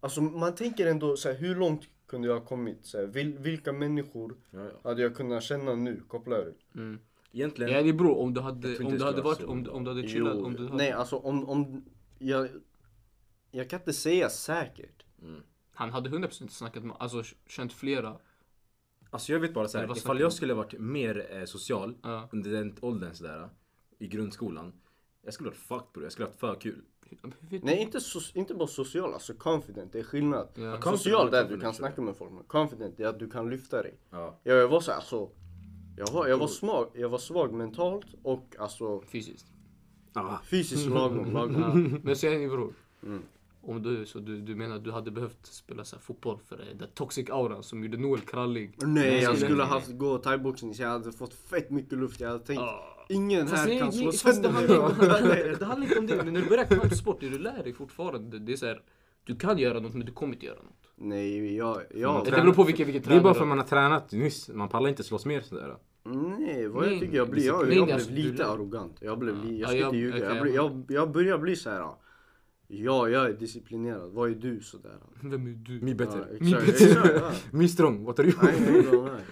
Speaker 2: alltså man tänker ändå så här, hur långt kunde jag ha kommit? Så här, vil, vilka människor
Speaker 1: Ja, ja.
Speaker 2: hade jag kunnat känna nu? Kopplar du?
Speaker 1: Egentligen.
Speaker 3: Ja det är bror, om du
Speaker 1: Jag tror
Speaker 3: hade,
Speaker 1: inte
Speaker 3: om
Speaker 1: det
Speaker 3: du hade
Speaker 1: skulle vara
Speaker 3: varit,
Speaker 1: så
Speaker 3: om,
Speaker 1: bra.
Speaker 3: om du hade chillat, om du hade...
Speaker 2: Nej, alltså om, om jag, jag kan inte säga säkert.
Speaker 3: Han hade 100% snackat med, alltså känt flera.
Speaker 1: Alltså jag vet bara så
Speaker 3: Eller
Speaker 1: här,
Speaker 3: vad
Speaker 1: ifall
Speaker 3: snackar
Speaker 1: jag skulle varit mer eh, social
Speaker 3: Ja.
Speaker 1: under den åldern sådär i grundskolan. Jag skulle varit fucked bror, jag skulle haft för kul.
Speaker 3: Hur vet
Speaker 2: Nej, inte, so, inte bara social, alltså confident, det är skillnad.
Speaker 3: Ja.
Speaker 1: Confident
Speaker 2: Social,
Speaker 1: och
Speaker 2: det är att du
Speaker 1: confident,
Speaker 2: kan
Speaker 1: tror jag.
Speaker 2: snacka med folk. Men confident, det är att du kan lyfta dig.
Speaker 1: Ja.
Speaker 2: Ja, jag var så här, alltså, jag var, jag var svag, jag var svag mentalt och alltså
Speaker 3: du? Fysiskt.
Speaker 1: Ah.
Speaker 2: fysiskt lagom, lagom.
Speaker 3: Ja. Men säg ni bror.
Speaker 1: Mm.
Speaker 3: Om du, så du, du menar att du hade behövt spela så här fotboll för det, den toxic auran som gjorde Noel krallig.
Speaker 2: Nej, jag
Speaker 3: skulle-
Speaker 2: skulle haft gå thaiboxning så jag hade fått fett mycket luft. Jag hade tänkt, ingen
Speaker 3: Fast
Speaker 2: här
Speaker 3: nej,
Speaker 2: kan
Speaker 3: nej,
Speaker 2: slå
Speaker 3: fast det,
Speaker 2: sönder
Speaker 3: handlar
Speaker 2: mig.
Speaker 3: inte, det, handlar, det handlar inte om det. Men när du börjar kampsport, det du lär dig fortfarande. Det är så här, du kan göra något men du kommer inte göra något.
Speaker 2: Nej, jag,
Speaker 1: Mm.
Speaker 2: jag,
Speaker 3: Det beror på vilken, vilken
Speaker 1: Det är bara
Speaker 3: tränare.
Speaker 1: för att man har tränat nyss, man pallar inte slåss mer sådär.
Speaker 2: Nej, vad
Speaker 3: Nej,
Speaker 2: jag tycker jag blir. Jag,
Speaker 3: disciplin,
Speaker 2: jag blev
Speaker 3: alltså, du
Speaker 2: lite
Speaker 3: lär-
Speaker 2: arrogant. Jag blev, li-
Speaker 3: Ja,
Speaker 2: jag ska
Speaker 3: jag-
Speaker 2: inte ljuga.
Speaker 3: okej,
Speaker 2: jag, blir,
Speaker 3: jag-
Speaker 2: jag, jag börjar bli så här. Ja, jag är disciplinerad. Vad är du sådär?
Speaker 3: Vem är du?
Speaker 1: Me
Speaker 2: Ja,
Speaker 1: better.
Speaker 2: exakt, exakt. ja.
Speaker 1: Me strong, what are you?
Speaker 2: Nej, nej, nej, nej.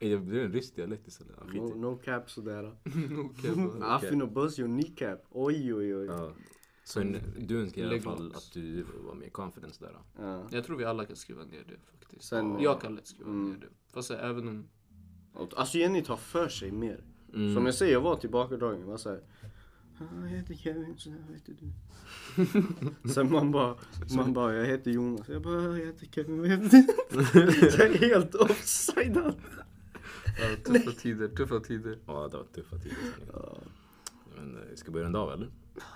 Speaker 1: Ey, Det blir en rysk dialekt istället. Ja, skit
Speaker 2: No,
Speaker 1: i.
Speaker 2: no cap sådär.
Speaker 3: Okej, bara.
Speaker 2: I finna buzz your kneecap. Oj, oj, oj.
Speaker 1: Ja. Så en- du önskar i alla
Speaker 3: Leg
Speaker 1: fall
Speaker 3: locks.
Speaker 1: att du var mer confidence där. då.
Speaker 2: Ja.
Speaker 3: Jag tror vi alla kan skriva ner det faktiskt.
Speaker 2: Sen-
Speaker 3: jag kan lätt skriva
Speaker 2: Mm.
Speaker 3: ner det. Fast eh, även om...
Speaker 2: Och- Alltså Jenny tar för sig mer.
Speaker 1: Mm.
Speaker 2: Som jag säger, jag var tillbakadragen. Jag var såhär. "Ah, Jag heter Kevin, så här heter du. Sen man bara, man bara, jag heter Jonas. Jag bara, jag heter Kevin, vad heter du? Jag är helt offsidead.
Speaker 3: Ja, tuffa tider, tuffa tider.
Speaker 1: Ja, det var tuffa tider. sanningen. Men eh, ska vi börja runda av eller?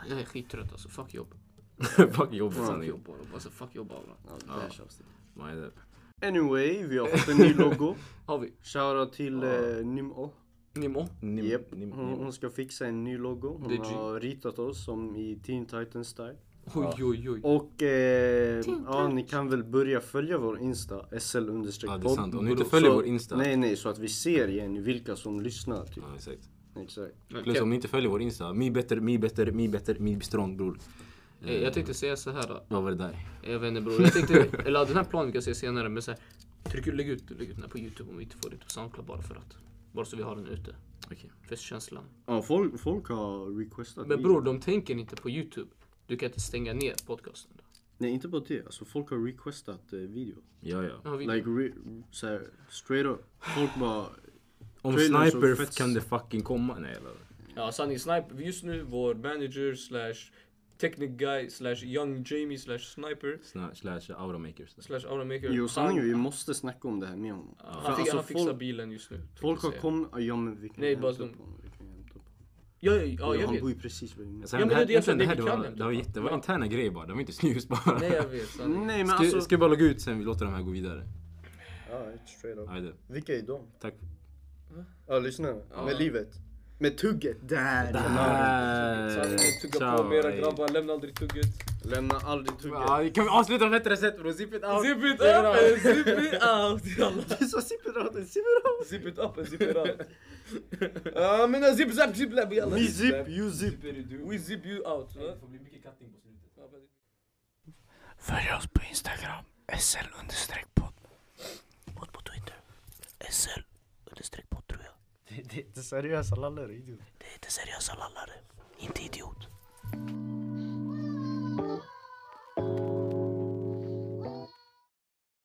Speaker 3: Jag är skittrött alltså, fuck jobb.
Speaker 1: Fuck jobbet
Speaker 3: Fuck
Speaker 1: sanningen.
Speaker 3: jobb bara. Alltså fuck jobb bara.
Speaker 2: Ja, det här känns det.
Speaker 1: Vad är det?
Speaker 2: Anyway, vi har fått en ny logo.
Speaker 3: Har vi?
Speaker 2: Shoutout till eh, Nimo.
Speaker 3: Nimo?
Speaker 1: Nim-
Speaker 2: Yep.
Speaker 1: nim-
Speaker 2: Hon,
Speaker 1: nim-
Speaker 2: hon ska fixa en ny logo. Hon
Speaker 3: Det är G.
Speaker 2: har ritat oss som i Teen Titans style.
Speaker 3: Oj oj oj.
Speaker 2: Och eh, ja, ni kan väl börja följa vår Insta, SL
Speaker 1: Ja,
Speaker 2: understreck
Speaker 1: det är sant. Om ni inte
Speaker 2: Så-
Speaker 1: följer vår Insta.
Speaker 2: Nej, nej, så att vi ser igen vilka som lyssnar. Typ.
Speaker 1: Ja, exakt.
Speaker 2: Exakt.
Speaker 1: Plus
Speaker 3: Kev-
Speaker 1: om ni inte följer vår Insta, me better, me better, me better, me strong bror.
Speaker 3: eh, Jag tänkte säga så här. då.
Speaker 1: Vad var det där?
Speaker 3: Jag vet inte bror. Jag tänkte, eller den här planen kan jag säga senare men så här, tryck, lägg, ut, lägg ut den här på Youtube om vi inte får det på Soundcloud bara för att. Bara så vi har den ute.
Speaker 1: Okej.
Speaker 3: För känslan.
Speaker 2: Ja, folk, folk har requestat
Speaker 3: Men
Speaker 2: i-
Speaker 3: bror, de tänker inte på Youtube. Du kan inte stänga ner podcasten. då.
Speaker 2: Nej, inte bara det. Alltså, folk har requestat eh, video.
Speaker 1: Ja, ja.
Speaker 3: Ja, vi,
Speaker 2: Like, re, så här, straight up. Folk bara...
Speaker 1: Om
Speaker 2: Trailers och
Speaker 1: sniper
Speaker 2: fett-
Speaker 1: kan det fucking komma. Nej, eller?
Speaker 4: Ja, Sunny Sniper, just nu vår manager slash technic guy slash young Jamie slash sniper
Speaker 1: Sna- Slash automakers.
Speaker 4: slash automaker.
Speaker 2: Jo, sanningen,
Speaker 4: han,
Speaker 2: vi måste snacka om det här med honom.
Speaker 4: han,
Speaker 2: För
Speaker 4: fi-
Speaker 2: alltså,
Speaker 4: han fixar
Speaker 2: folk-
Speaker 4: bilen just nu. tänkte
Speaker 2: Folk
Speaker 4: jag
Speaker 2: har
Speaker 4: säga.
Speaker 2: kommit... Ja, men vi kan
Speaker 4: Nej, bara
Speaker 2: hämta
Speaker 4: de-
Speaker 2: upp honom. Vi kan hämta upp honom.
Speaker 4: Ja, ja, ja, jag
Speaker 2: han bor
Speaker 4: vet.
Speaker 2: ju precis bredvid mig.
Speaker 1: Sen,
Speaker 4: Ja, men det är
Speaker 1: här-
Speaker 4: det jag säger,
Speaker 1: sen det här
Speaker 4: vi
Speaker 1: det
Speaker 4: kan
Speaker 1: var,
Speaker 4: inte.
Speaker 1: det var, jätte, det var interna grejer bara. Det var inte snus bara.
Speaker 4: Nej, jag vet. Sunny.
Speaker 2: Nej, men
Speaker 1: Ska,
Speaker 2: alltså...
Speaker 1: ska vi bara logga ut sen vi låter de här gå vidare?
Speaker 2: Ja, straight up.
Speaker 1: Aj, det.
Speaker 2: Vilka är de?
Speaker 1: Tack.
Speaker 2: Ja, lyssna. Med livet. Med tugget. Där!
Speaker 4: Sunny, tugga på
Speaker 1: Ciao,
Speaker 4: mera
Speaker 1: hej.
Speaker 4: grabbar, lämna aldrig tugget.
Speaker 2: Lämna aldrig tugget.
Speaker 1: Ja, kan vi avsluta på bättre sätt bror? Zip it out!
Speaker 4: Zip it up and zip it out. Jalla.
Speaker 2: Du sa sipperaten, sipperaten!
Speaker 4: Zip it up and zip it out. Ja, men zip zap zip lab jalla.
Speaker 2: Me zip, you zip.
Speaker 4: We zip you out. va?
Speaker 1: får bli mycket cutting på slutet.
Speaker 4: Ja, väldigt-
Speaker 5: Följ oss på Instagram, sl-podd. Och på Twitter, sl-podd tror jag.
Speaker 2: Det är inte seriösa lallare, idiot.
Speaker 5: Det är inte seriösa lallare, inte idiot.